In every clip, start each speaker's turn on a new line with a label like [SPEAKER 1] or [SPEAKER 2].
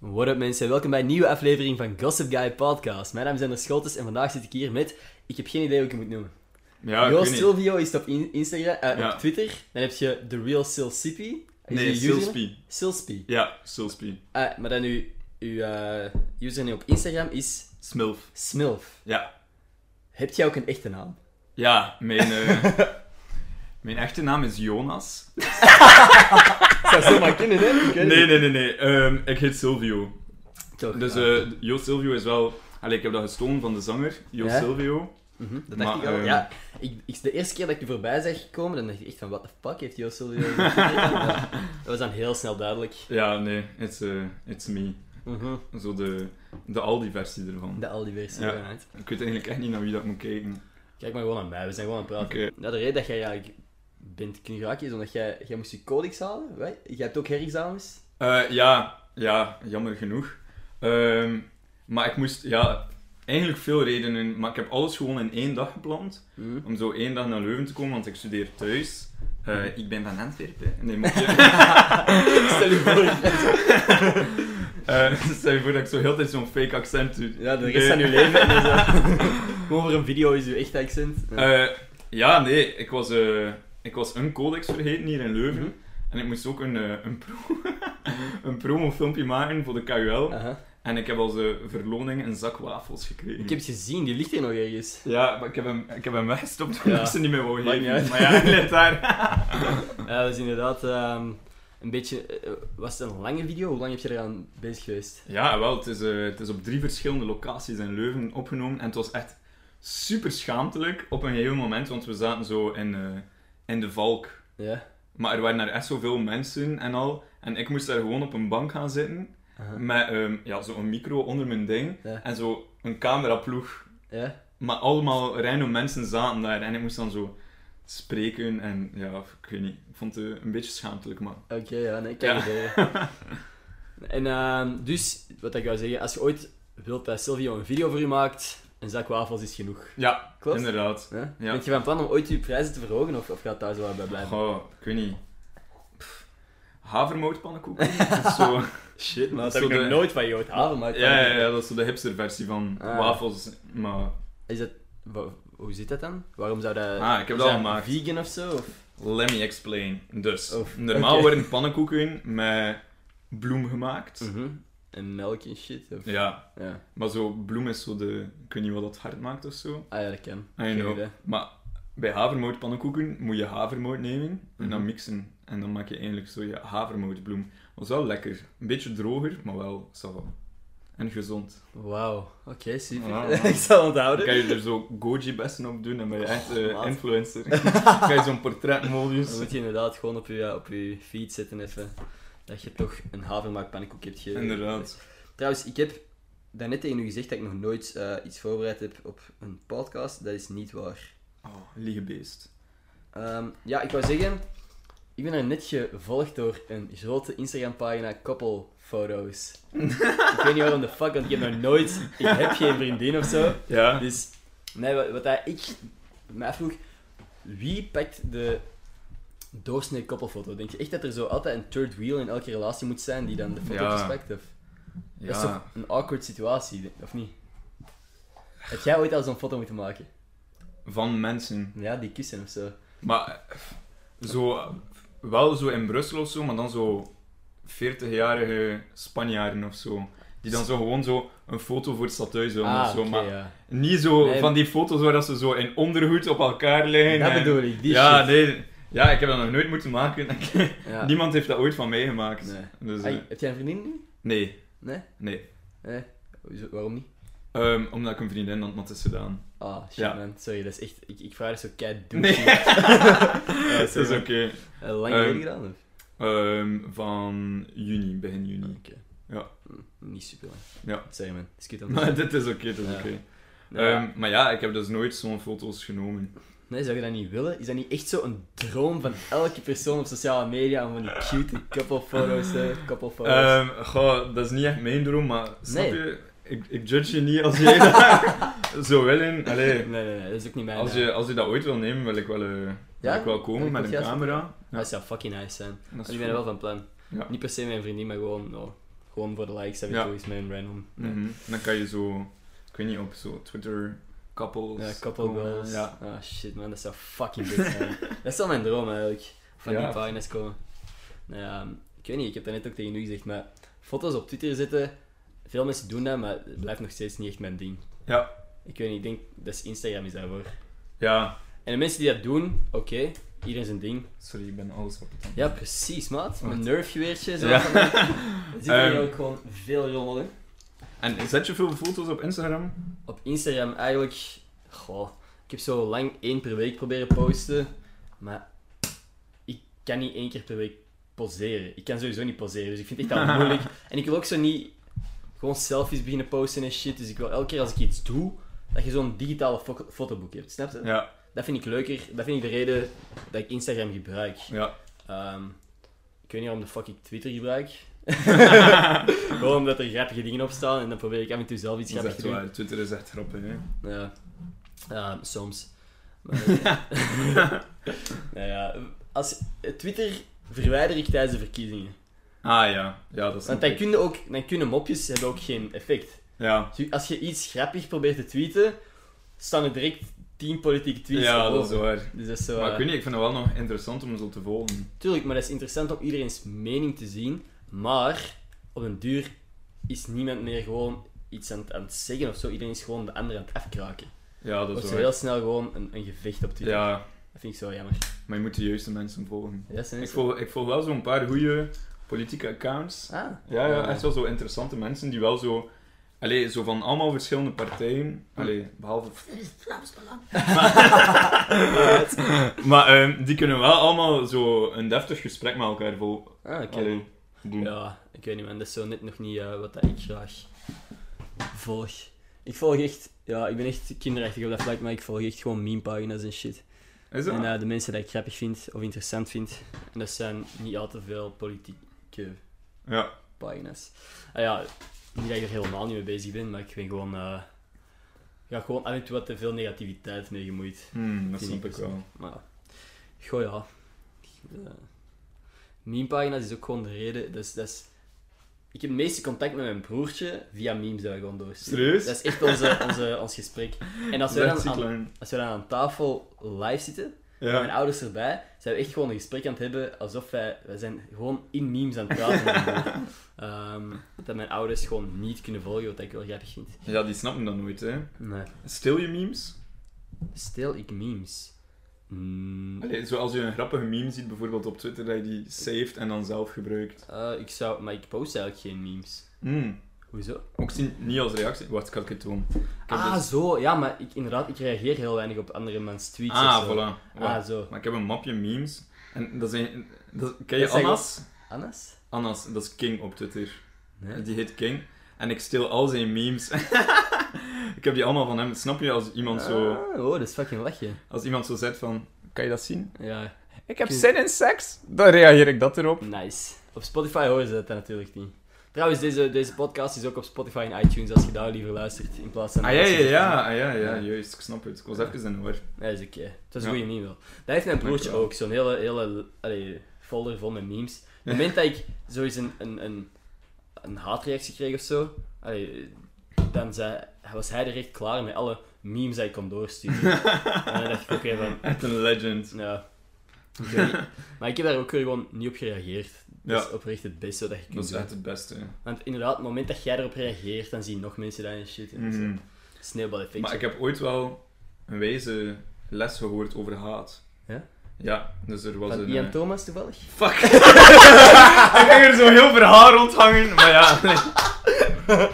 [SPEAKER 1] What up mensen, welkom bij een nieuwe aflevering van Gossip Guy Podcast. Mijn naam is Anders Scholtes en vandaag zit ik hier met, ik heb geen idee hoe ik hem moet noemen.
[SPEAKER 2] Ja, Ah, ik
[SPEAKER 1] Real
[SPEAKER 2] weet niet.
[SPEAKER 1] Silvio is het op in- Instagram, eh,
[SPEAKER 2] Ja.
[SPEAKER 1] op Twitter. Dan heb je The Real Silsipi. Is
[SPEAKER 2] Nee,
[SPEAKER 1] je username?
[SPEAKER 2] Silspi.
[SPEAKER 1] Silspi.
[SPEAKER 2] Ja, Silspi.
[SPEAKER 1] Ah, maar dan uw, uw eh, username op Instagram is
[SPEAKER 2] Smilf.
[SPEAKER 1] Smilf.
[SPEAKER 2] Ja.
[SPEAKER 1] Heb jij ook een echte naam?
[SPEAKER 2] Ja, mijn, eh, mijn echte naam is Jonas.
[SPEAKER 1] Zou zo maar kunnen, hè? Ik weet het
[SPEAKER 2] Nee,
[SPEAKER 1] niet.
[SPEAKER 2] nee, nee, nee. Ehm, ik heet Silvio.
[SPEAKER 1] Toch, Ah,
[SPEAKER 2] Dus
[SPEAKER 1] ja.
[SPEAKER 2] eh Jo Silvio is wel... Allee, ik heb dat gestolen van de zanger, Jo
[SPEAKER 1] Ja?
[SPEAKER 2] Silvio.
[SPEAKER 1] Mhm, dat dacht
[SPEAKER 2] maar,
[SPEAKER 1] ik al.
[SPEAKER 2] eh,
[SPEAKER 1] Ja, ik, ik- de eerste keer dat ik je voorbij zag komen, dan dacht ik echt van, what the fuck heeft Jo Silvio? dat was dan heel snel duidelijk.
[SPEAKER 2] Ja, nee, it's, eh, it's me.
[SPEAKER 1] Mhm.
[SPEAKER 2] Zo de, de Aldi-versie ervan.
[SPEAKER 1] De al die versie
[SPEAKER 2] Ja.
[SPEAKER 1] vanuit.
[SPEAKER 2] Ik weet eigenlijk echt niet naar wie dat moet kijken.
[SPEAKER 1] Kijk maar gewoon aan mij, we zijn gewoon aan het praten.
[SPEAKER 2] Oké.
[SPEAKER 1] Nou, de reden dat jij eigenlijk bent kunnen geraken is omdat jij, jij moest je codex halen. Wij, jij hebt ook herexamens.
[SPEAKER 2] Eh, ja, ja, jammer genoeg. Ehm, maar ik moest... Ja, eigenlijk veel redenen. Maar ik heb alles gewoon in één dag gepland.
[SPEAKER 1] Mm.
[SPEAKER 2] om zo één dag naar Leuven te komen, want ik studeer thuis. Eh, ik ben van Antwerpen. Nee, maar
[SPEAKER 1] Stel je voor.
[SPEAKER 2] Eh, stel je voor dat ik zo heel de tijd zo'n fake accent doe.
[SPEAKER 1] Ja, de rest
[SPEAKER 2] Nee.
[SPEAKER 1] van je leven. en dan zo. Gewoon voor een video is je echt accent.
[SPEAKER 2] Eh, ja, nee, ik was, eh, ik was een codex vergeten hier in Leuven.
[SPEAKER 1] Mhm.
[SPEAKER 2] En ik moest ook een, eh, een, pro een promofilmpje maken voor de KUL.
[SPEAKER 1] Aha.
[SPEAKER 2] En ik heb als eh, verloning een zak wafels gekregen.
[SPEAKER 1] Ik heb het gezien, die ligt hier nog ergens.
[SPEAKER 2] Ja, maar ik heb hem, ik heb hem weggestopt
[SPEAKER 1] Ja.
[SPEAKER 2] omdat ik ze niet meer wou
[SPEAKER 1] Maakt niet uit.
[SPEAKER 2] geven. Maar ja, hij ligt daar.
[SPEAKER 1] Ja, dat is Eh, dus inderdaad ehm, een beetje... eh, was het een lange video? Hoe lang heb je eraan bezig geweest?
[SPEAKER 2] Ja, wel, het is, eh, het is op drie verschillende locaties in Leuven opgenomen. En het was echt super schaamtelijk op een gegeven moment, want we zaten zo in, eh, in de valk.
[SPEAKER 1] Ja.
[SPEAKER 2] Maar er waren daar echt zoveel mensen en al. En ik moest daar gewoon op een bank gaan zitten.
[SPEAKER 1] Aha.
[SPEAKER 2] Met ehm, ja, zo'n micro onder mijn ding.
[SPEAKER 1] Ja.
[SPEAKER 2] En zo een cameraploeg.
[SPEAKER 1] Ja.
[SPEAKER 2] Maar allemaal random mensen zaten daar. En ik moest dan zo spreken. En ja, ik weet niet. Ik vond het eh, een beetje schaamtelijk, maar...
[SPEAKER 1] Oké, ja, nee, ik kan
[SPEAKER 2] Ja.
[SPEAKER 1] het eh. En ehm, dus, wat ik wou zeggen, als je ooit wilt dat Silvio een video voor je maakt, een zak wafels is genoeg.
[SPEAKER 2] Ja,
[SPEAKER 1] Klopt?
[SPEAKER 2] inderdaad.
[SPEAKER 1] Hè?
[SPEAKER 2] Ja.
[SPEAKER 1] Bent je van plan om ooit je prijzen te verhogen, of, of gaat daar zo wat bij blijven?
[SPEAKER 2] Goh, ik weet niet. Pff, Havermoutpannenkoeken? Dat is zo...
[SPEAKER 1] Shit,
[SPEAKER 2] man, dat heb ik nog
[SPEAKER 1] nooit van je haven, maar...
[SPEAKER 2] Ja, ja, ja, dat is zo de hipster versie van
[SPEAKER 1] Ah.
[SPEAKER 2] wafels. Maar
[SPEAKER 1] Is dat... wa- Hoe zit dat dan? Waarom zou dat...
[SPEAKER 2] Ah, ik heb
[SPEAKER 1] is
[SPEAKER 2] dat al gemaakt.
[SPEAKER 1] vegan of zo? Of...
[SPEAKER 2] let me explain. Dus,
[SPEAKER 1] Of,
[SPEAKER 2] normaal
[SPEAKER 1] oké.
[SPEAKER 2] worden pannenkoeken met bloem gemaakt.
[SPEAKER 1] Mhm. En melk en shit? Of...
[SPEAKER 2] Ja,
[SPEAKER 1] Ja.
[SPEAKER 2] maar zo bloem is zo de... Ik weet niet wat dat hard maakt of zo.
[SPEAKER 1] Ah ja, dat kan.
[SPEAKER 2] I
[SPEAKER 1] Geen
[SPEAKER 2] know.
[SPEAKER 1] idee.
[SPEAKER 2] Maar bij havermoutpannenkoeken moet je havermout nemen en dan
[SPEAKER 1] Mhm.
[SPEAKER 2] mixen. En dan maak je eigenlijk zo je havermoutbloem. was wel lekker. Een beetje droger, maar wel zo. En gezond.
[SPEAKER 1] Wauw. Oké, super.
[SPEAKER 2] Ja, man.
[SPEAKER 1] ik zal
[SPEAKER 2] Dan
[SPEAKER 1] onthouden.
[SPEAKER 2] kan je er zo goji-bessen op doen en ben je echt eh,
[SPEAKER 1] Oh, maat. Oh,
[SPEAKER 2] influencer. Dan kan je zo'n portretmodus.
[SPEAKER 1] Dan moet je inderdaad gewoon op je, op je feed zetten even. Dat je toch een havermoutpannenkoek hebt ge...
[SPEAKER 2] Inderdaad.
[SPEAKER 1] Trouwens, ik heb daarnet tegen u gezegd dat ik nog nooit eh, iets voorbereid heb op een podcast. Dat is niet waar.
[SPEAKER 2] Oh, liegebeest.
[SPEAKER 1] Ehm, ja, ik wou zeggen... Ik ben er net gevolgd door een grote Instagram-pagina koppelfoto's. ik weet niet waarom de fuck, want ik heb nog nooit... Ik heb geen vriendin of zo.
[SPEAKER 2] Ja.
[SPEAKER 1] Dus, nee, wat, wat dat ik me afvroeg, wie pakt de doorsnee koppelfoto? Denk je echt dat er zo altijd een third wheel in elke relatie moet zijn die dan de foto's
[SPEAKER 2] Ja.
[SPEAKER 1] pakt? Of? Dat is
[SPEAKER 2] ja.
[SPEAKER 1] toch een awkward situatie, denk- of niet? Heb jij ooit al zo'n foto moeten maken?
[SPEAKER 2] Van mensen.
[SPEAKER 1] Ja, die kussen of zo.
[SPEAKER 2] Maar eh, zo, eh, wel zo in Brussel of zo, maar dan zo 40-jarige Spanjaarden of zo. Die dan zo gewoon zo een foto voor het stadhuis doen of
[SPEAKER 1] Ah,
[SPEAKER 2] zo.
[SPEAKER 1] oké,
[SPEAKER 2] maar
[SPEAKER 1] ja.
[SPEAKER 2] niet zo
[SPEAKER 1] Nee.
[SPEAKER 2] van die foto's waar dat ze zo in ondergoed op elkaar liggen.
[SPEAKER 1] Dat
[SPEAKER 2] en-
[SPEAKER 1] bedoel ik, die
[SPEAKER 2] ja,
[SPEAKER 1] shit.
[SPEAKER 2] nee. Ja, ik heb dat nog nooit moeten maken.
[SPEAKER 1] Ja.
[SPEAKER 2] Niemand heeft dat ooit van mij gemaakt.
[SPEAKER 1] Nee.
[SPEAKER 2] Dus, eh,
[SPEAKER 1] Ai, heb jij een vriendin nu?
[SPEAKER 2] nee.
[SPEAKER 1] Nee?
[SPEAKER 2] Nee.
[SPEAKER 1] Nee? Hoezo- Waarom niet?
[SPEAKER 2] Ehm, omdat ik een vriendin had, maar het is gedaan.
[SPEAKER 1] Ah, shit
[SPEAKER 2] Ja.
[SPEAKER 1] man, sorry, dat is echt... Ik, ik vraag dat zo kei doe.
[SPEAKER 2] Nee.
[SPEAKER 1] Ja,
[SPEAKER 2] Dat is
[SPEAKER 1] sorry,
[SPEAKER 2] oké.
[SPEAKER 1] man. Eh, Lang
[SPEAKER 2] Ehm,
[SPEAKER 1] geleden gedaan? Of?
[SPEAKER 2] Ehm, van juni, begin juni.
[SPEAKER 1] Oké.
[SPEAKER 2] Ja.
[SPEAKER 1] Hm, niet super lang.
[SPEAKER 2] Ja.
[SPEAKER 1] Sorry man, is kut aan
[SPEAKER 2] Maar dit is oké, dit is
[SPEAKER 1] Ja.
[SPEAKER 2] oké.
[SPEAKER 1] Nou ja.
[SPEAKER 2] Ehm, maar ja, ik heb dus nooit zo'n foto's genomen.
[SPEAKER 1] Nee, zou je dat niet willen? Is dat niet echt zo'n droom van elke persoon op sociale media om van die cute koppelfoto's te koppelfoto's?
[SPEAKER 2] Ehm, goh, dat is niet echt mijn droom, maar snap
[SPEAKER 1] Oh, Nee.
[SPEAKER 2] je? Ik, ik judge je niet als jij dat zou willen. Allee,
[SPEAKER 1] nee, nee, nee, dat is ook niet mijn eh,
[SPEAKER 2] als
[SPEAKER 1] naam.
[SPEAKER 2] je, als je dat ooit wil nemen, wil ik wel, eh, wil
[SPEAKER 1] Ja?
[SPEAKER 2] ik wel
[SPEAKER 1] Ja, ik
[SPEAKER 2] komen met
[SPEAKER 1] wil
[SPEAKER 2] een
[SPEAKER 1] juist-
[SPEAKER 2] camera. Ja,
[SPEAKER 1] Dat zou fucking nice zijn.
[SPEAKER 2] dat
[SPEAKER 1] Want
[SPEAKER 2] is
[SPEAKER 1] ik ben er wel
[SPEAKER 2] goed.
[SPEAKER 1] van plan.
[SPEAKER 2] Ja.
[SPEAKER 1] Niet per se mijn vriendin, maar gewoon no, Gewoon voor de likes heb ik
[SPEAKER 2] Ja.
[SPEAKER 1] volgens mij een random. Ja.
[SPEAKER 2] Mhm. Dan kan je zo, ik weet niet, op zo Twitter couples.
[SPEAKER 1] Ja, couple
[SPEAKER 2] komen.
[SPEAKER 1] goals.
[SPEAKER 2] Ja.
[SPEAKER 1] Ah shit man, dat zou fucking dik zijn. dat is wel mijn droom eigenlijk. Van
[SPEAKER 2] Ja.
[SPEAKER 1] die pagina's komen. Nou ja, ik weet niet, ik heb dat net ook tegen u gezegd, maar foto's op Twitter zetten, veel mensen doen dat, maar het blijft nog steeds niet echt mijn ding.
[SPEAKER 2] Ja.
[SPEAKER 1] Ik weet niet, ik denk, dat is Instagram is daarvoor.
[SPEAKER 2] ja,
[SPEAKER 1] En de mensen die dat doen, oké, iedereen zijn ding.
[SPEAKER 2] sorry, ik ben alles op het
[SPEAKER 1] Ja, precies maat. Mijn
[SPEAKER 2] Wacht.
[SPEAKER 1] nerfgeweertje, zo.
[SPEAKER 2] Ja.
[SPEAKER 1] Er zitten hier
[SPEAKER 2] Ehm.
[SPEAKER 1] ook gewoon veel rommel in.
[SPEAKER 2] En zet je veel foto's op Instagram?
[SPEAKER 1] Op Instagram eigenlijk... Goh, ik heb zo lang één per week proberen posten. Maar ik kan niet één keer per week poseren. Ik kan sowieso niet poseren, dus ik vind het echt al moeilijk. En ik wil ook zo niet gewoon selfies beginnen posten en shit. Dus ik wil elke keer als ik iets doe, dat je zo'n digitale fo- fotoboek hebt. Snap je?
[SPEAKER 2] Ja,
[SPEAKER 1] Dat vind ik leuker. Dat vind ik de reden dat ik Instagram gebruik.
[SPEAKER 2] ja.
[SPEAKER 1] Ehm, ik weet niet waarom de fuck ik Twitter gebruik. Gewoon omdat er grappige dingen op staan en dan probeer ik af en toe zelf iets
[SPEAKER 2] Dat is
[SPEAKER 1] grappigs te
[SPEAKER 2] echt
[SPEAKER 1] doen.
[SPEAKER 2] waar. Twitter is echt grappig, hè.
[SPEAKER 1] Ja, Ehm, soms. Maar- nou ja, als, Twitter verwijder ik tijdens de verkiezingen.
[SPEAKER 2] Ah ja, ja, dat
[SPEAKER 1] Want
[SPEAKER 2] is
[SPEAKER 1] dan
[SPEAKER 2] natuurlijk-
[SPEAKER 1] kunnen, ook, dan kunnen mopjes hebben ook geen effect.
[SPEAKER 2] Ja,
[SPEAKER 1] Dus Als je iets grappig probeert te tweeten, staan er direct 10 politieke tweets
[SPEAKER 2] ja dat is
[SPEAKER 1] erboven.
[SPEAKER 2] waar.
[SPEAKER 1] Dus dat is zo...
[SPEAKER 2] Maar ik
[SPEAKER 1] eh,
[SPEAKER 2] weet niet, ik vind het wel nog interessant om zo te volgen.
[SPEAKER 1] Tuurlijk, maar dat is interessant om iedereen's mening te zien. Maar op een duur is niemand meer gewoon iets aan, het- aan het zeggen of zo. Iedereen is gewoon de ander aan het afkraken.
[SPEAKER 2] Ja,
[SPEAKER 1] Dat
[SPEAKER 2] dat
[SPEAKER 1] wordt
[SPEAKER 2] is
[SPEAKER 1] zo
[SPEAKER 2] waar.
[SPEAKER 1] heel snel gewoon een, een gevecht op Twitter.
[SPEAKER 2] Ja,
[SPEAKER 1] Dat vind ik zo jammer.
[SPEAKER 2] maar je moet de juiste mensen volgen.
[SPEAKER 1] Ja, zijn
[SPEAKER 2] Ik
[SPEAKER 1] mensen-
[SPEAKER 2] volg, ik volg wel zo'n paar goede politieke accounts.
[SPEAKER 1] Ah.
[SPEAKER 2] Ja, ja, echt wel zo interessante mensen die wel zo... Allee, zo van allemaal verschillende partijen.
[SPEAKER 1] Hm.
[SPEAKER 2] Allee, behalve... Maar, maar ehm, die kunnen wel allemaal zo een deftig gesprek met elkaar vol...
[SPEAKER 1] Ah, oké.
[SPEAKER 2] allee, doen.
[SPEAKER 1] Ja, ik weet niet, man. Dat is zo net nog niet eh, wat dat ik graag volg. Ik volg echt... Ja, ik ben echt kinderachtig op dat vlak, maar ik volg echt gewoon meme-pagina's en shit.
[SPEAKER 2] Is dat?
[SPEAKER 1] En eh, de mensen die ik grappig vind of interessant vind. En dat zijn niet al te veel politieke
[SPEAKER 2] Ja.
[SPEAKER 1] pagina's. Ah ja, niet dat ik er helemaal niet mee bezig ben, maar ik ben gewoon... eh, ja, gewoon af en toe wat te veel negativiteit mee gemoeid.
[SPEAKER 2] Hmm, dat
[SPEAKER 1] Die
[SPEAKER 2] snap ik
[SPEAKER 1] niet
[SPEAKER 2] wel.
[SPEAKER 1] Maar goh ja. Eh, Meme-pagina's is ook gewoon de reden. Dus, dat is, ik heb het meeste contact met mijn broertje via memes dat we gewoon doorsturen.
[SPEAKER 2] Serieus?
[SPEAKER 1] Dat is echt onze, onze, ons gesprek. En als we,
[SPEAKER 2] Dat is
[SPEAKER 1] dan
[SPEAKER 2] ziek
[SPEAKER 1] aan,
[SPEAKER 2] lang.
[SPEAKER 1] als we dan aan tafel live zitten, met mijn
[SPEAKER 2] Ja.
[SPEAKER 1] ouders erbij, zijn we echt gewoon een gesprek aan het hebben alsof wij, wij zijn gewoon in memes aan het praten. met elkaar. Ehm, dat mijn ouders gewoon niet kunnen volgen, wat ik wel grappig vind.
[SPEAKER 2] ja, die snappen dat nooit, hè.
[SPEAKER 1] Nee.
[SPEAKER 2] Stil je memes?
[SPEAKER 1] Stel ik memes? Mm,
[SPEAKER 2] Allee, zo als je een grappige meme ziet, bijvoorbeeld op Twitter, dat je die saved en dan zelf gebruikt.
[SPEAKER 1] eh, ik zou, maar ik post eigenlijk geen memes.
[SPEAKER 2] Hmm.
[SPEAKER 1] Hoezo?
[SPEAKER 2] Ook zien, niet als reactie. Wacht, ik had het doen. Ik heb
[SPEAKER 1] Ah,
[SPEAKER 2] dus-
[SPEAKER 1] zo. Ja, maar ik, inderdaad, ik reageer heel weinig op andere men's tweets.
[SPEAKER 2] ah
[SPEAKER 1] of zo.
[SPEAKER 2] voilà. Wacht.
[SPEAKER 1] Ah, zo.
[SPEAKER 2] Maar ik heb een mapje memes. En dat zijn... Dat, ken je
[SPEAKER 1] Dat zijn
[SPEAKER 2] Annas?
[SPEAKER 1] Annas?
[SPEAKER 2] Annas, dat is King op Twitter.
[SPEAKER 1] Nee.
[SPEAKER 2] Die heet King. En ik steel al zijn memes. ik heb die allemaal van hem. Snap je als iemand zo...
[SPEAKER 1] Ah, oh, dat is fucking lachje.
[SPEAKER 2] Als iemand zo zegt van... Kan je dat zien?
[SPEAKER 1] Ja,
[SPEAKER 2] Ik heb
[SPEAKER 1] Kun-
[SPEAKER 2] zin in seks. Dan reageer ik dat erop.
[SPEAKER 1] nice. Op Spotify horen ze dat dan natuurlijk niet. Trouwens, deze, deze podcast is ook op Spotify en iTunes als je daar liever luistert in plaats van.
[SPEAKER 2] Ah ja, ja, ja, ah, ja,
[SPEAKER 1] Ja.
[SPEAKER 2] ja, juist. Ik snap het. Ik was even in de war.
[SPEAKER 1] Nee, is oké. Dat is een
[SPEAKER 2] Ja.
[SPEAKER 1] goede meme wel. Dat heeft mijn broertje
[SPEAKER 2] Dankjewel.
[SPEAKER 1] ook. Zo'n hele, hele allee, folder vol met memes. Op het moment dat ik zoiets een, een, een, een haatreactie kreeg of zo, allee, dan zei, was hij direct klaar met alle memes die ik kon doorsturen. en dan dacht ik ook even van,
[SPEAKER 2] Echt een legend.
[SPEAKER 1] ja. ik weet niet. Maar ik heb daar ook weer gewoon niet op gereageerd. Dat
[SPEAKER 2] Ja.
[SPEAKER 1] is oprecht het beste Dus dat je kunt
[SPEAKER 2] Dat is
[SPEAKER 1] doen.
[SPEAKER 2] echt het beste.
[SPEAKER 1] Want inderdaad, op het moment dat jij erop reageert, dan zien nog mensen dat en shit. En
[SPEAKER 2] Mhm.
[SPEAKER 1] Sneeuwbal effect.
[SPEAKER 2] Maar ik heb ooit wel een wijze les gehoord over haat.
[SPEAKER 1] Ja?
[SPEAKER 2] Ja, dus er was
[SPEAKER 1] Van
[SPEAKER 2] een...
[SPEAKER 1] Ian
[SPEAKER 2] eh,
[SPEAKER 1] Thomas toevallig?
[SPEAKER 2] Fuck. ik ging er zo heel verhaal rondhangen, maar ja. nee.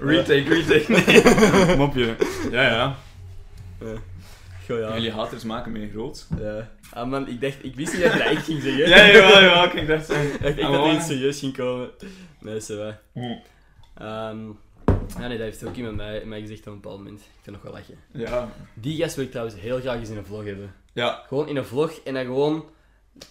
[SPEAKER 2] retake, retake. Nee. Mopje. Ja, ja.
[SPEAKER 1] Goh, ja.
[SPEAKER 2] Jullie haters maken mij groot.
[SPEAKER 1] Ja. Ah man, ik dacht, ik wist niet dat je dat echt ging zeggen.
[SPEAKER 2] Ja, jawel, jawel. Ik dacht zo... Ah,
[SPEAKER 1] Ik dacht echt dat er iets serieus ging komen. Nee, zo wel. Ehm, ja, nee, dat heeft ook iemand mij, mij gezegd op een bepaald moment. Ik kan nog wel lachen.
[SPEAKER 2] Ja.
[SPEAKER 1] Die gast wil ik trouwens heel graag eens in een vlog hebben.
[SPEAKER 2] Ja.
[SPEAKER 1] Gewoon in een vlog en dan gewoon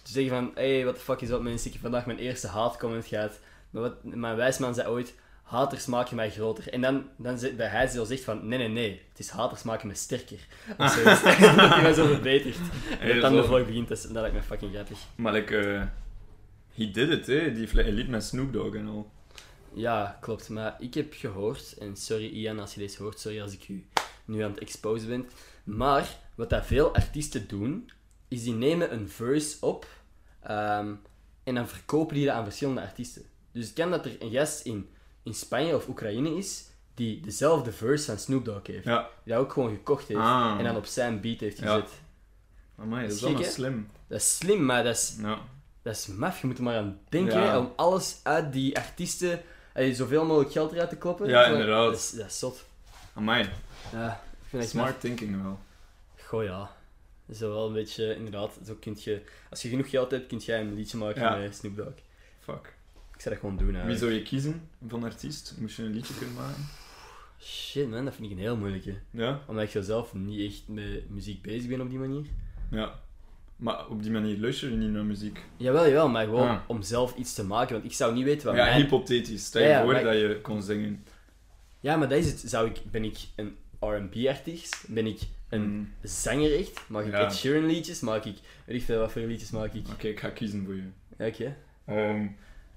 [SPEAKER 1] zeggen van, hey, what the fuck is dat mensen? Ik heb vandaag mijn eerste haatcomment gehad. Maar wat, mijn wijsman zei ooit, haters maken mij groter. En dan, dan zegt- dat hij zo zegt van, nee, nee, nee, het is haters maken me sterker. Of zoiets. dat hij mij zo verbetert. En dat dan de vlog begint, dat, is- dat lijkt me fucking grappig.
[SPEAKER 2] Maar ik... eh, he did it, hè. Die fle- liep met Snoop Dogg en al.
[SPEAKER 1] Ja, klopt. Maar ik heb gehoord, en sorry Ian als je deze hoort, sorry als ik u nu aan het exposen ben. Maar wat dat veel artiesten doen, is die nemen een verse op ehm, en dan verkopen die dat aan verschillende artiesten. Dus het kan dat er een gast in, in Spanje of Oekraïne is die dezelfde verse van Snoop Dogg heeft.
[SPEAKER 2] Ja.
[SPEAKER 1] Die dat ook gewoon gekocht heeft
[SPEAKER 2] Ah.
[SPEAKER 1] en dan op zijn beat heeft
[SPEAKER 2] Ja.
[SPEAKER 1] gezet.
[SPEAKER 2] Amai, dat is
[SPEAKER 1] Dat is
[SPEAKER 2] allemaal
[SPEAKER 1] gek,
[SPEAKER 2] slim.
[SPEAKER 1] Dat is slim, maar dat is,
[SPEAKER 2] Ja.
[SPEAKER 1] dat is maf. Je moet er maar aan denken
[SPEAKER 2] Ja.
[SPEAKER 1] hè, om alles uit die artiesten eh, zoveel mogelijk geld eruit te kloppen.
[SPEAKER 2] Ja,
[SPEAKER 1] Zo,
[SPEAKER 2] inderdaad.
[SPEAKER 1] Dat is, dat is zot.
[SPEAKER 2] Amai,
[SPEAKER 1] Ja, ik vind dat echt maf.
[SPEAKER 2] smart thinking wel.
[SPEAKER 1] Goh, ja. Dat is wel een beetje, inderdaad, zo kunt je, als je genoeg geld hebt, kun jij een liedje maken
[SPEAKER 2] Ja.
[SPEAKER 1] met Snoop Dogg.
[SPEAKER 2] Fuck.
[SPEAKER 1] Ik zou dat gewoon doen,
[SPEAKER 2] Wie
[SPEAKER 1] eigenlijk.
[SPEAKER 2] zou je kiezen van artiest? Moest je een liedje kunnen maken?
[SPEAKER 1] Shit, man, dat vind ik een heel moeilijke.
[SPEAKER 2] Ja?
[SPEAKER 1] Omdat ik zo zelf niet echt met muziek bezig ben op die manier.
[SPEAKER 2] Ja. Maar op die manier luister je niet naar muziek.
[SPEAKER 1] Jawel, jawel, maar gewoon
[SPEAKER 2] Ah.
[SPEAKER 1] om zelf iets te maken, want ik zou niet weten wat
[SPEAKER 2] ja,
[SPEAKER 1] mijn...
[SPEAKER 2] hypothetisch. Stel je
[SPEAKER 1] Ja, ja,
[SPEAKER 2] voor
[SPEAKER 1] maar-
[SPEAKER 2] dat je kon zingen.
[SPEAKER 1] Ja, maar dat is het. Zou ik, ben ik een R&B-artiest? Ben ik een
[SPEAKER 2] Mm.
[SPEAKER 1] zanger echt? Maak ik
[SPEAKER 2] Ja. Mm.
[SPEAKER 1] Ed Sheeran liedjes? Maak ik... Weet ik veel, wat voor liedjes maak ik?
[SPEAKER 2] Oké, ik ga kiezen voor je.
[SPEAKER 1] Ja, Oké.
[SPEAKER 2] Ehm,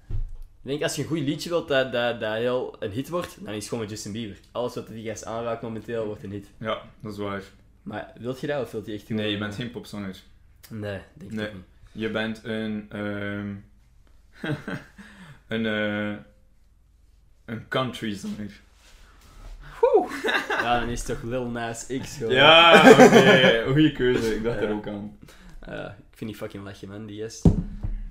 [SPEAKER 1] Ik denk, als je een goed liedje wilt dat, dat, dat heel een hit wordt, dan is het gewoon met Justin Bieber. Alles wat die gast aanraakt momenteel, wordt een hit.
[SPEAKER 2] ja, dat is waar.
[SPEAKER 1] Maar wilt je dat of wilt je echt... gewoon-
[SPEAKER 2] Nee, je bent geen popzanger.
[SPEAKER 1] Nee, denk ik
[SPEAKER 2] Nee.
[SPEAKER 1] ook niet.
[SPEAKER 2] Je bent een... ehm, een... eh, een country zanger.
[SPEAKER 1] Ja, dan is het toch Lil Nas X gewoon.
[SPEAKER 2] Ja, oké. Goeie keuze. Ik dacht
[SPEAKER 1] Ja.
[SPEAKER 2] er ook aan.
[SPEAKER 1] Ja, Eh, ik vind die fucking lachje, man, die gast.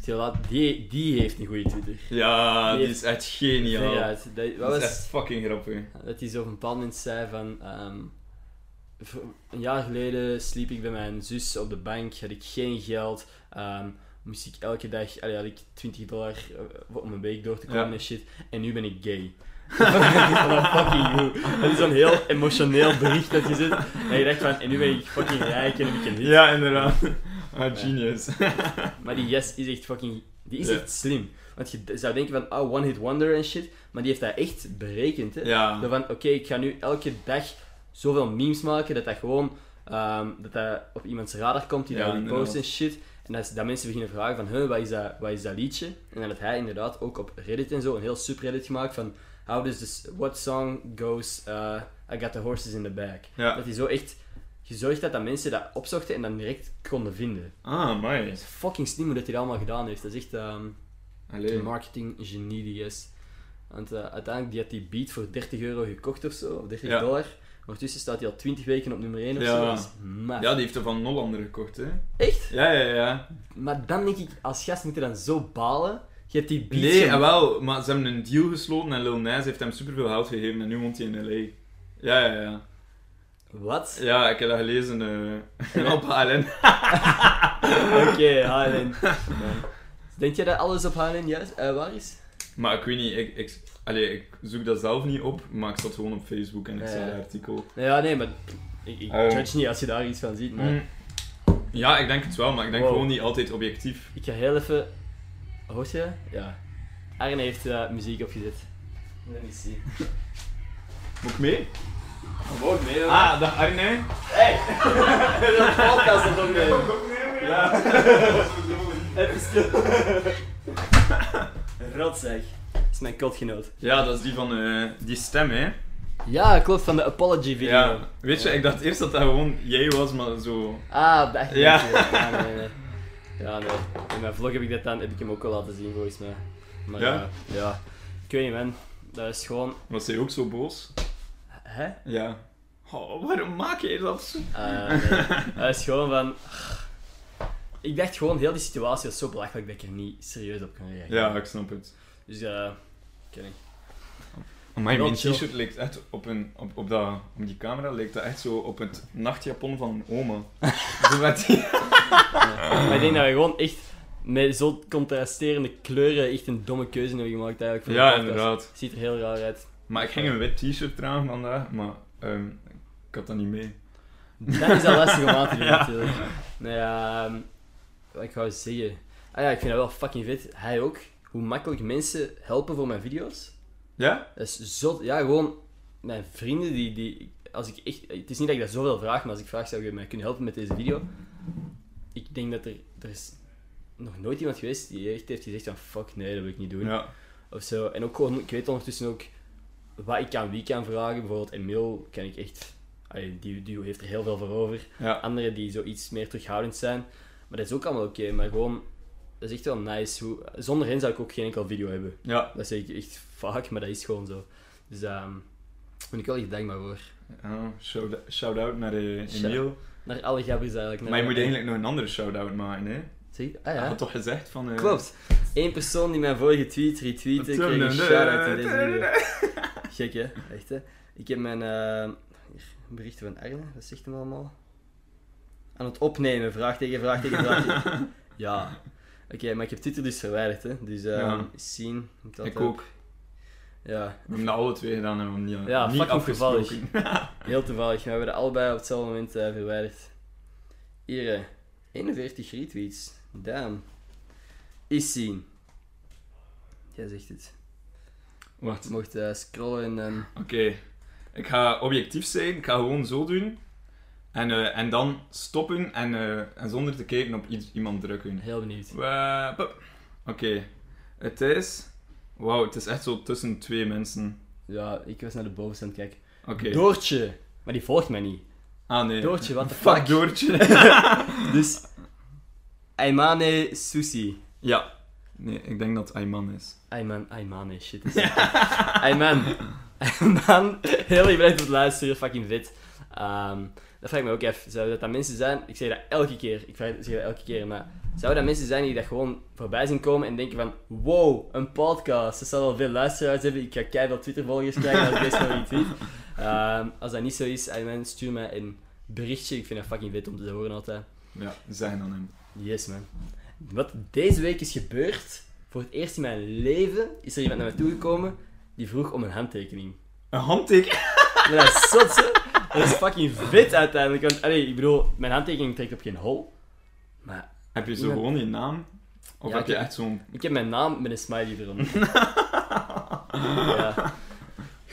[SPEAKER 1] Die, laat- die, die heeft een goede Twitter.
[SPEAKER 2] Ja,
[SPEAKER 1] Die
[SPEAKER 2] dit is echt geniaal.
[SPEAKER 1] Veruit. Dat, wat
[SPEAKER 2] Dat is
[SPEAKER 1] was...
[SPEAKER 2] echt fucking grappig.
[SPEAKER 1] Dat hij zo op een bepaald moment zei van... ehm, v- een jaar geleden sliep ik bij mijn zus op de bank, had ik geen geld. ehm, moest ik elke dag... Allee, had ik 20 dollar eh, om een week door te komen
[SPEAKER 2] Ja.
[SPEAKER 1] en shit. En nu ben ik gay. dat fucking goed. Dat is zo'n heel emotioneel bericht dat je zit. En je dacht van, en nu ben ik fucking rijk en heb ik een hit.
[SPEAKER 2] Ja, inderdaad. Ah, genius.
[SPEAKER 1] Maar die yes is echt fucking... Die is
[SPEAKER 2] Ja.
[SPEAKER 1] echt slim. Want je d- zou denken van, oh, one hit wonder en shit. Maar die heeft dat echt berekend, hè. Zo
[SPEAKER 2] Ja.
[SPEAKER 1] van, oké, ik ga nu elke dag zoveel memes maken dat dat gewoon ehm, dat dat op iemands radar komt die
[SPEAKER 2] Ja,
[SPEAKER 1] dat repost
[SPEAKER 2] inderdaad.
[SPEAKER 1] en shit. En dat, is- dat mensen beginnen vragen van, huh, wat is, dat, wat is dat liedje? En dan heeft hij inderdaad ook op Reddit en zo een heel subreddit gemaakt van, how does this, what song goes, eh, I got the horses in the back.
[SPEAKER 2] ja.
[SPEAKER 1] Dat hij zo echt gezorgd had dat mensen dat opzochten en dan direct konden vinden.
[SPEAKER 2] Ah,
[SPEAKER 1] Dat
[SPEAKER 2] mooi.
[SPEAKER 1] is fucking slim hoe dat hij dat allemaal gedaan heeft. Dat is echt... ehm,
[SPEAKER 2] Allee.
[SPEAKER 1] een marketing genie die is. Want eh, uiteindelijk die had die beat voor 30 euro gekocht of zo, of 30
[SPEAKER 2] Ja.
[SPEAKER 1] dollar. Ondertussen staat hij al 20 weken op nummer 1 of
[SPEAKER 2] Ja.
[SPEAKER 1] zo. Dat is maf.
[SPEAKER 2] Ja, die heeft er van Nollander gekocht, hè?
[SPEAKER 1] Echt?
[SPEAKER 2] Ja, ja, ja.
[SPEAKER 1] Maar dan denk ik, als gast moet je dan zo balen. Je hebt die beat.
[SPEAKER 2] Nee,
[SPEAKER 1] gem-
[SPEAKER 2] en wel, maar ze hebben een deal gesloten en Lil Nas heeft hem superveel geld gegeven en nu woont hij in L.A. Ja, ja, ja.
[SPEAKER 1] Wat?
[SPEAKER 2] Ja, ik heb dat gelezen eh op HLN.
[SPEAKER 1] Oké, Highland. Ja. Denk jij dat alles op Highland juist, eh, waar is?
[SPEAKER 2] Maar ik weet niet, ik, ik, allee, ik zoek dat zelf niet op, maar ik zat gewoon op Facebook en ik
[SPEAKER 1] Ja,
[SPEAKER 2] zag
[SPEAKER 1] ja.
[SPEAKER 2] dat artikel.
[SPEAKER 1] Nou ja, nee, maar ik, ik
[SPEAKER 2] Eh.
[SPEAKER 1] judge niet als je daar iets van ziet. Maar
[SPEAKER 2] Mm. Ja, ik denk het wel, maar ik denk
[SPEAKER 1] Wow.
[SPEAKER 2] gewoon niet altijd objectief.
[SPEAKER 1] ik ga heel even. Hoort je? dat? Ja. Arne heeft eh, muziek opgezet. Let me see.
[SPEAKER 2] Moet ik mee?
[SPEAKER 1] Gewoon mee,
[SPEAKER 2] Ah, dag Arne.
[SPEAKER 1] Dat podcast dat opnemen.
[SPEAKER 2] Ja.
[SPEAKER 1] Even stil. Rot zeg. Dat is mijn kotgenoot.
[SPEAKER 2] ja, dat is die van eh, die stem, hè.
[SPEAKER 1] Ja, klopt, van de apology video.
[SPEAKER 2] Ja, weet je, ik dacht eerst dat dat gewoon jij was, maar zo...
[SPEAKER 1] Ah, bij
[SPEAKER 2] Ja.
[SPEAKER 1] Ja, nee, nee. Ja, nee. In mijn vlog heb ik dat dan, heb ik hem ook al laten zien volgens mij. Maar
[SPEAKER 2] Ja?
[SPEAKER 1] ja, ja. ik weet niet man. Dat is gewoon.
[SPEAKER 2] Was hij ook zo boos?
[SPEAKER 1] Hè?
[SPEAKER 2] Ja. Oh, waarom maak je dat zo?
[SPEAKER 1] Ah, nee. Dat is gewoon van. Ik dacht gewoon, heel die situatie was zo belachelijk dat ik er niet serieus op kan reageren.
[SPEAKER 2] Ja, ik snap het.
[SPEAKER 1] Dus eh, ik weet niet.
[SPEAKER 2] Amai,
[SPEAKER 1] Wel
[SPEAKER 2] mijn
[SPEAKER 1] chill.
[SPEAKER 2] t-shirt leek echt op, een, op, op, dat, op die camera leek dat echt zo op het nachtjapon van mijn oma. zo werd die...
[SPEAKER 1] Maar ik denk dat we gewoon echt met zo contrasterende kleuren echt een domme keuze hebben gemaakt eigenlijk. Voor de
[SPEAKER 2] Ja,
[SPEAKER 1] podcast.
[SPEAKER 2] inderdaad.
[SPEAKER 1] Ziet er heel raar uit.
[SPEAKER 2] Maar ik ging een wit t-shirt dragen vandaag, maar ehm, ik had dat niet mee.
[SPEAKER 1] Dat is al lastig om aan te doen natuurlijk. Nee, ehm, wat ik wou zeggen. Ah ja, ik vind dat wel fucking vet. Hij ook. Hoe makkelijk mensen helpen voor mijn video's.
[SPEAKER 2] Ja?
[SPEAKER 1] Dat is zot. Ja, gewoon mijn vrienden die... die als ik echt, het is niet dat ik dat zoveel vraag, maar als ik vraag zou je mij kunnen helpen met deze video. Ik denk dat er... Er is nog nooit iemand geweest die echt heeft gezegd van fuck nee, dat wil ik niet doen.
[SPEAKER 2] Ja.
[SPEAKER 1] of zo. En ook gewoon, ik weet ondertussen ook wat ik aan wie kan vragen. Bijvoorbeeld Emil kan ik echt... allee, die, die heeft er heel veel voor over.
[SPEAKER 2] Ja.
[SPEAKER 1] Anderen die zoiets meer terughoudend zijn. Maar dat is ook allemaal oké. maar gewoon, dat is echt wel nice. Hoe, zonder hen zou ik ook geen enkel video hebben.
[SPEAKER 2] Ja.
[SPEAKER 1] Dat zeg ik echt vaak, maar dat is gewoon zo. Dus daar ben ik wel echt dankbaar voor.
[SPEAKER 2] Oh, shout- shout-out naar eh,
[SPEAKER 1] Shout-
[SPEAKER 2] Emiel.
[SPEAKER 1] Naar alle gabbers eigenlijk. Naar
[SPEAKER 2] Maar je moet
[SPEAKER 1] alle-
[SPEAKER 2] eigenlijk nog een andere shout-out maken, hè?
[SPEAKER 1] Zie je? Ah
[SPEAKER 2] Je
[SPEAKER 1] ja.
[SPEAKER 2] had toch gezegd van... eh,
[SPEAKER 1] Klopt. Eén persoon die mijn vorige tweet retweette, kreeg een shout-out in deze video. Gek hè? Echt hè? Ik heb mijn eh, hier, berichten van Arne, dat zegt hem allemaal. Aan het opnemen, vraag tegen vraag tegen vraag. tegen. ja. Oké, maar ik heb Twitter dus verwijderd hè. Dus eh,
[SPEAKER 2] Ja.
[SPEAKER 1] zien. Ik, had
[SPEAKER 2] Ik
[SPEAKER 1] dat-
[SPEAKER 2] ook.
[SPEAKER 1] Ja,
[SPEAKER 2] We hebben dat alle twee gedaan en we hebben niet,
[SPEAKER 1] Ja,
[SPEAKER 2] niet
[SPEAKER 1] fucking
[SPEAKER 2] afgesproken.
[SPEAKER 1] toevallig. heel toevallig. We hebben dat allebei op hetzelfde moment eh, verwijderd. Hier, eh, 41 retweets. Damn. Is zien. Jij zegt het.
[SPEAKER 2] Wacht,
[SPEAKER 1] Je mocht eh, scrollen en... ehm,
[SPEAKER 2] oké. Ik ga objectief zijn. Ik ga gewoon zo doen. En, eh, en dan stoppen en, eh, en zonder te kijken op iets, iemand drukken.
[SPEAKER 1] Heel benieuwd.
[SPEAKER 2] Wa- pop. Oké. Het is... Wauw, het is echt zo tussen twee mensen.
[SPEAKER 1] Ja, ik was naar de bovenste aan het kijken.
[SPEAKER 2] Oké.
[SPEAKER 1] Doortje! Maar die volgt mij niet.
[SPEAKER 2] Ah, nee.
[SPEAKER 1] Doortje, wat de
[SPEAKER 2] Fuck
[SPEAKER 1] fuck?
[SPEAKER 2] Doortje.
[SPEAKER 1] Dus, Aymane Susi.
[SPEAKER 2] ja. Nee, ik denk dat Ayman is.
[SPEAKER 1] Ayman, Aymane, shit. Is Ayman. Ayman, heel erg bedankt voor het luisteren, fucking vet. Ehm, dat vraag ik me ook even. Zouden dat, dat mensen zijn, ik zeg dat elke keer, ik vraag zeg dat elke keer, maar zouden dat mensen zijn die dat gewoon voorbij zien komen en denken van, wow, een podcast, ze zal wel veel luisteraars hebben, ik ga keihard Twitter-volgers krijgen als ik best wel iets tweet. Ehm, als dat niet zo is, Ayman, stuur mij een berichtje, ik vind dat fucking vet om te horen altijd.
[SPEAKER 2] Ja, zeg dan hem.
[SPEAKER 1] Yes, man. Wat deze week is gebeurd, voor het eerst in mijn leven is er iemand naar me toegekomen die vroeg om een handtekening.
[SPEAKER 2] Een handteken.
[SPEAKER 1] Maar dat is zot, hè? Dat is fucking vet uiteindelijk. Want, allee, ik bedoel, mijn handtekening trekt op geen hol. Maar
[SPEAKER 2] Heb je zo
[SPEAKER 1] Iemand-
[SPEAKER 2] gewoon je naam? Of
[SPEAKER 1] Ja,
[SPEAKER 2] heb je
[SPEAKER 1] ik-
[SPEAKER 2] echt zo'n...
[SPEAKER 1] ik heb mijn naam met een smiley eronder. ja.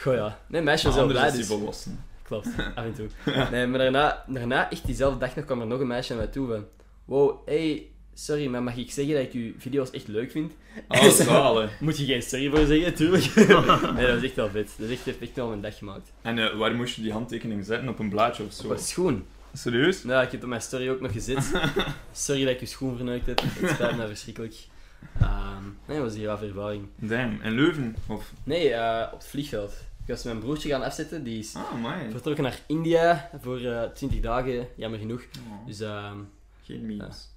[SPEAKER 1] Goh ja. Nee, meisje was wel
[SPEAKER 2] Anders
[SPEAKER 1] blij,
[SPEAKER 2] is die
[SPEAKER 1] dus...
[SPEAKER 2] volwassen.
[SPEAKER 1] Klopt, af en toe. Nee, maar daarna, daarna, echt diezelfde dag nog, kwam er nog een meisje naar mij toe van... Wow, hey, sorry, maar mag ik zeggen dat ik uw video's echt leuk vind?
[SPEAKER 2] Oh, zalen.
[SPEAKER 1] Moet je geen sorry voor zeggen, tuurlijk. nee, dat was echt wel vet. Dat is echt, heeft echt wel mijn dag gemaakt.
[SPEAKER 2] En eh, waar moest je die handtekening zetten? Op een blaadje of zo?
[SPEAKER 1] Wat schoen.
[SPEAKER 2] Serieus?
[SPEAKER 1] Nou, ik heb op mijn story ook nog gezet. Sorry dat ik je schoen verneukt heb. Het spijt me verschrikkelijk. Ehm, nee, dat was hier af ervaring.
[SPEAKER 2] Damn. In Leuven? Of...
[SPEAKER 1] Nee, eh, op het vliegveld. Ik was mijn broertje gaan afzetten. Die is
[SPEAKER 2] Ah, my.
[SPEAKER 1] vertrokken naar India voor eh 20 dagen, jammer genoeg.
[SPEAKER 2] Oh,
[SPEAKER 1] Dus ehm,
[SPEAKER 2] geen memes.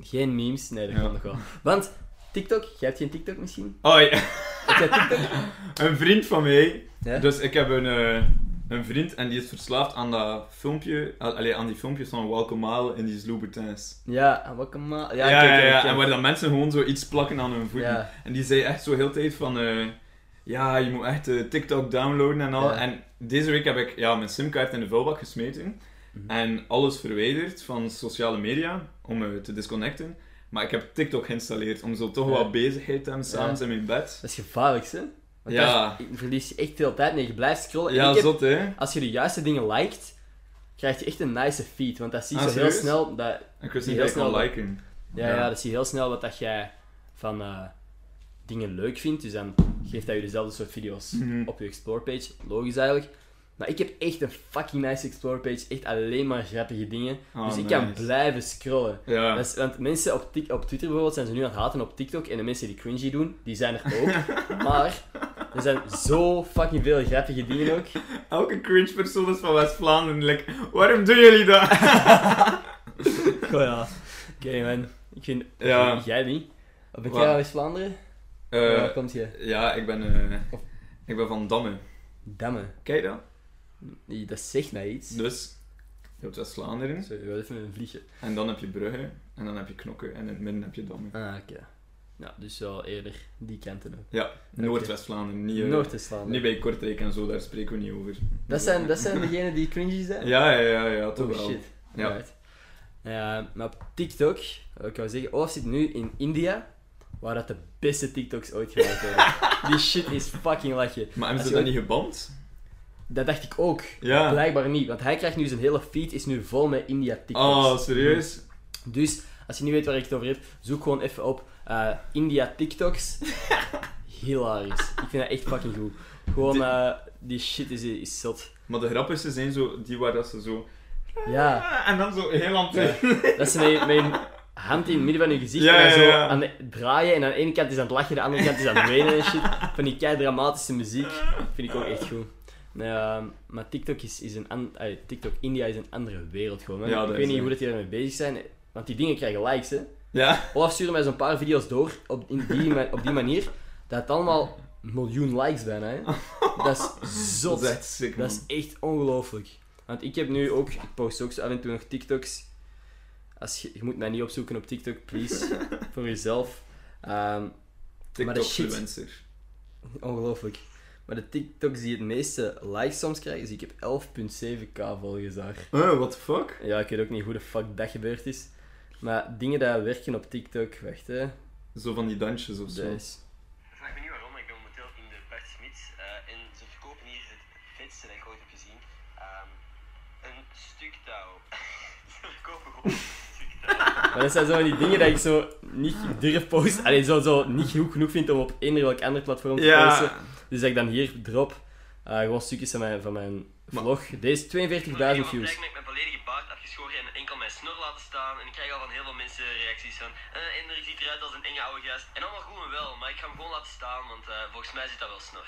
[SPEAKER 1] geen memes. Nee, dat kan
[SPEAKER 2] Ja.
[SPEAKER 1] nog wel. Want TikTok, jij hebt geen TikTok misschien?
[SPEAKER 2] Hoi.
[SPEAKER 1] Ik heb TikTok.
[SPEAKER 2] Een vriend van mij.
[SPEAKER 1] Ja?
[SPEAKER 2] Dus ik heb een, eh, een vriend en die is verslaafd aan dat filmpje. ah, Allee, aan die filmpjes van Welcome Mile in die Louboutins.
[SPEAKER 1] Ja, wat kan maar.
[SPEAKER 2] Ja,
[SPEAKER 1] Ja,
[SPEAKER 2] ja,
[SPEAKER 1] ik- ik-
[SPEAKER 2] ja,
[SPEAKER 1] ik- ik-
[SPEAKER 2] En waar dan mensen gewoon zo iets plakken aan hun voeten.
[SPEAKER 1] Ja.
[SPEAKER 2] En die zei echt zo heel de tijd van... eh, ja, je moet echt eh, TikTok downloaden en al.
[SPEAKER 1] Ja.
[SPEAKER 2] En deze week heb ik ja, mijn simkaart in de vuilbak gesmeten.
[SPEAKER 1] Mhm.
[SPEAKER 2] En alles verwijderd van sociale media om eh, te disconnecten. Maar ik heb TikTok geïnstalleerd om zo toch
[SPEAKER 1] Ja.
[SPEAKER 2] wat bezigheid te hebben,
[SPEAKER 1] Ja.
[SPEAKER 2] s'avonds in mijn bed.
[SPEAKER 1] Dat is gevaarlijk, hè? Want
[SPEAKER 2] Ja.
[SPEAKER 1] daar verlies je echt veel tijd mee. Je blijft scrollen. En
[SPEAKER 2] Ja,
[SPEAKER 1] ik heb-
[SPEAKER 2] zot hè.
[SPEAKER 1] als je de juiste dingen liked, krijg je echt een nice feed. Want dat zie je
[SPEAKER 2] Ah,
[SPEAKER 1] zo heel
[SPEAKER 2] serieus?
[SPEAKER 1] snel. Dat,
[SPEAKER 2] Ik wist
[SPEAKER 1] Die
[SPEAKER 2] niet dat ik
[SPEAKER 1] heel
[SPEAKER 2] kon
[SPEAKER 1] snel-
[SPEAKER 2] liken.
[SPEAKER 1] ja, ja.
[SPEAKER 2] Ja.
[SPEAKER 1] dat zie je heel snel wat dat jij van eh, dingen leuk vindt. Dus dan geeft hij je dezelfde soort video's
[SPEAKER 2] Mhm.
[SPEAKER 1] op je explore page. Logisch eigenlijk. Maar ik heb echt een fucking nice explore page. Echt alleen maar grappige dingen.
[SPEAKER 2] Ah,
[SPEAKER 1] dus ik
[SPEAKER 2] nice.
[SPEAKER 1] kan blijven scrollen.
[SPEAKER 2] Ja.
[SPEAKER 1] Dat is- want mensen op, Tik- op Twitter bijvoorbeeld zijn ze nu aan het haten op TikTok. En de mensen die cringy doen, die zijn er ook. maar er zijn zo fucking veel grappige dingen ook.
[SPEAKER 2] Elke cringe persoon is van West-Vlaanderen. Like, waarom doen jullie dat? Eh,
[SPEAKER 1] Goh ja. Oké man, ik vind...
[SPEAKER 2] Ja.
[SPEAKER 1] Jij niet? Of ben
[SPEAKER 2] Wat?
[SPEAKER 1] jij uit West-Vlaanderen?
[SPEAKER 2] Eh,
[SPEAKER 1] Waar komt je?
[SPEAKER 2] ja, ik ben, eh,
[SPEAKER 1] Of-
[SPEAKER 2] ik ben van Damme.
[SPEAKER 1] Damme.
[SPEAKER 2] Kijk dat?
[SPEAKER 1] Nee, Dat zegt mij iets.
[SPEAKER 2] Dus, je hebt West-Vlaanderen.
[SPEAKER 1] Sorry, wel even een vliegje.
[SPEAKER 2] En dan heb je Brugge. En dan heb je Knokke. En in het midden heb je Damme.
[SPEAKER 1] Ah, oké. Ja, dus wel eerder die kanten ook.
[SPEAKER 2] Ja, Noord-West-Vlaanderen. Niet, eh, niet
[SPEAKER 1] Noord-West-Vlaanderen.
[SPEAKER 2] bij Kortrijk en zo, daar spreken we niet over.
[SPEAKER 1] Dat zijn, dat zijn degenen die cringy zijn?
[SPEAKER 2] Ja, ja, ja, ja, toch
[SPEAKER 1] Oh
[SPEAKER 2] wel.
[SPEAKER 1] shit.
[SPEAKER 2] Ja.
[SPEAKER 1] Right. Eh, maar op TikTok, wat ik wou zeggen, Olaf zit nu in India, waar dat de beste TikToks ooit gemaakt worden. die shit is fucking lachje.
[SPEAKER 2] Maar hebben
[SPEAKER 1] Als
[SPEAKER 2] ze
[SPEAKER 1] je
[SPEAKER 2] dat
[SPEAKER 1] ook-
[SPEAKER 2] niet geband?
[SPEAKER 1] Dat dacht ik ook.
[SPEAKER 2] Ja.
[SPEAKER 1] Blijkbaar niet, want hij krijgt nu zijn hele feed is nu vol met India TikToks.
[SPEAKER 2] Oh, serieus?
[SPEAKER 1] Dus als je niet weet waar ik het over heb, zoek gewoon even op eh, India TikToks. hilarisch. Ik vind dat echt fucking goed. Gewoon,
[SPEAKER 2] Die-
[SPEAKER 1] eh, die shit is, is zot.
[SPEAKER 2] Maar de grappigste zijn zo die waar dat ze zo... Ah,
[SPEAKER 1] Ja,
[SPEAKER 2] En dan zo heel aan het...
[SPEAKER 1] dat ze met, je- met je hand in het midden van je gezicht
[SPEAKER 2] Ja,
[SPEAKER 1] en dan
[SPEAKER 2] ja,
[SPEAKER 1] zo
[SPEAKER 2] ja.
[SPEAKER 1] aan het draaien. En aan de ene kant is aan het lachen, de andere kant is aan het wenen en shit. Van die kei dramatische muziek. Vind ik ook echt goed. Nee, ehm, maar TikTok is, is een an- eh, TikTok India is een andere wereld gewoon. hè.
[SPEAKER 2] Ja, dat
[SPEAKER 1] ik
[SPEAKER 2] is,
[SPEAKER 1] weet niet
[SPEAKER 2] eh.
[SPEAKER 1] hoe dat die daarmee bezig zijn. Want die dingen krijgen likes, hè.
[SPEAKER 2] Ja.
[SPEAKER 1] Olaf stuurde mij zo'n paar video's door op in die, ma- op die manier. Dat had allemaal miljoen likes bijna. Hè. Dat is zot.
[SPEAKER 2] Dat is echt sick, man.
[SPEAKER 1] Dat is echt ongelooflijk. Want ik heb nu ook, ik post ook zo af en toe nog TikToks. Als je, je moet mij niet opzoeken op TikTok, please. voor jezelf. Ehm, maar de shit-
[SPEAKER 2] TikTok-influencer.
[SPEAKER 1] ongelooflijk. Maar de TikToks die het meeste likes soms krijgen, dus ik heb 11.7k volgers daar.
[SPEAKER 2] Eh, what the fuck?
[SPEAKER 1] Ja, ik weet ook niet hoe de fuck dat gebeurd is. Maar dingen die werken op TikTok, wacht hè. Dus.
[SPEAKER 2] Zo van die dansjes of zo.
[SPEAKER 1] Dat is...
[SPEAKER 3] Vraag me niet waarom, maar ik ben momenteel in de Bert Smits eh, en ze verkopen hier het vetste dat ik ooit heb gezien. Ehm, een stuk touw. ze verkopen gewoon een stuk touw.
[SPEAKER 1] Maar dat zijn zo van die dingen dat ik zo niet durf posten. Alleen zo, zo niet goed genoeg vind om op eender welk ander platform te posten.
[SPEAKER 2] Ja.
[SPEAKER 1] Dus dat ik dan hier drop eh, gewoon stukjes van mijn, van mijn vlog. Deze
[SPEAKER 3] Maar
[SPEAKER 1] 42.000
[SPEAKER 3] iemand
[SPEAKER 1] views.
[SPEAKER 3] lijkt me, ik ben volledige baard afgeschoren en enkel mijn snor laten staan. En ik krijg al van heel veel mensen reacties van. eh Ender ziet eruit als een enge oude gast. En allemaal goed en wel, maar ik ga hem gewoon laten staan, want eh, volgens mij zit dat wel snor.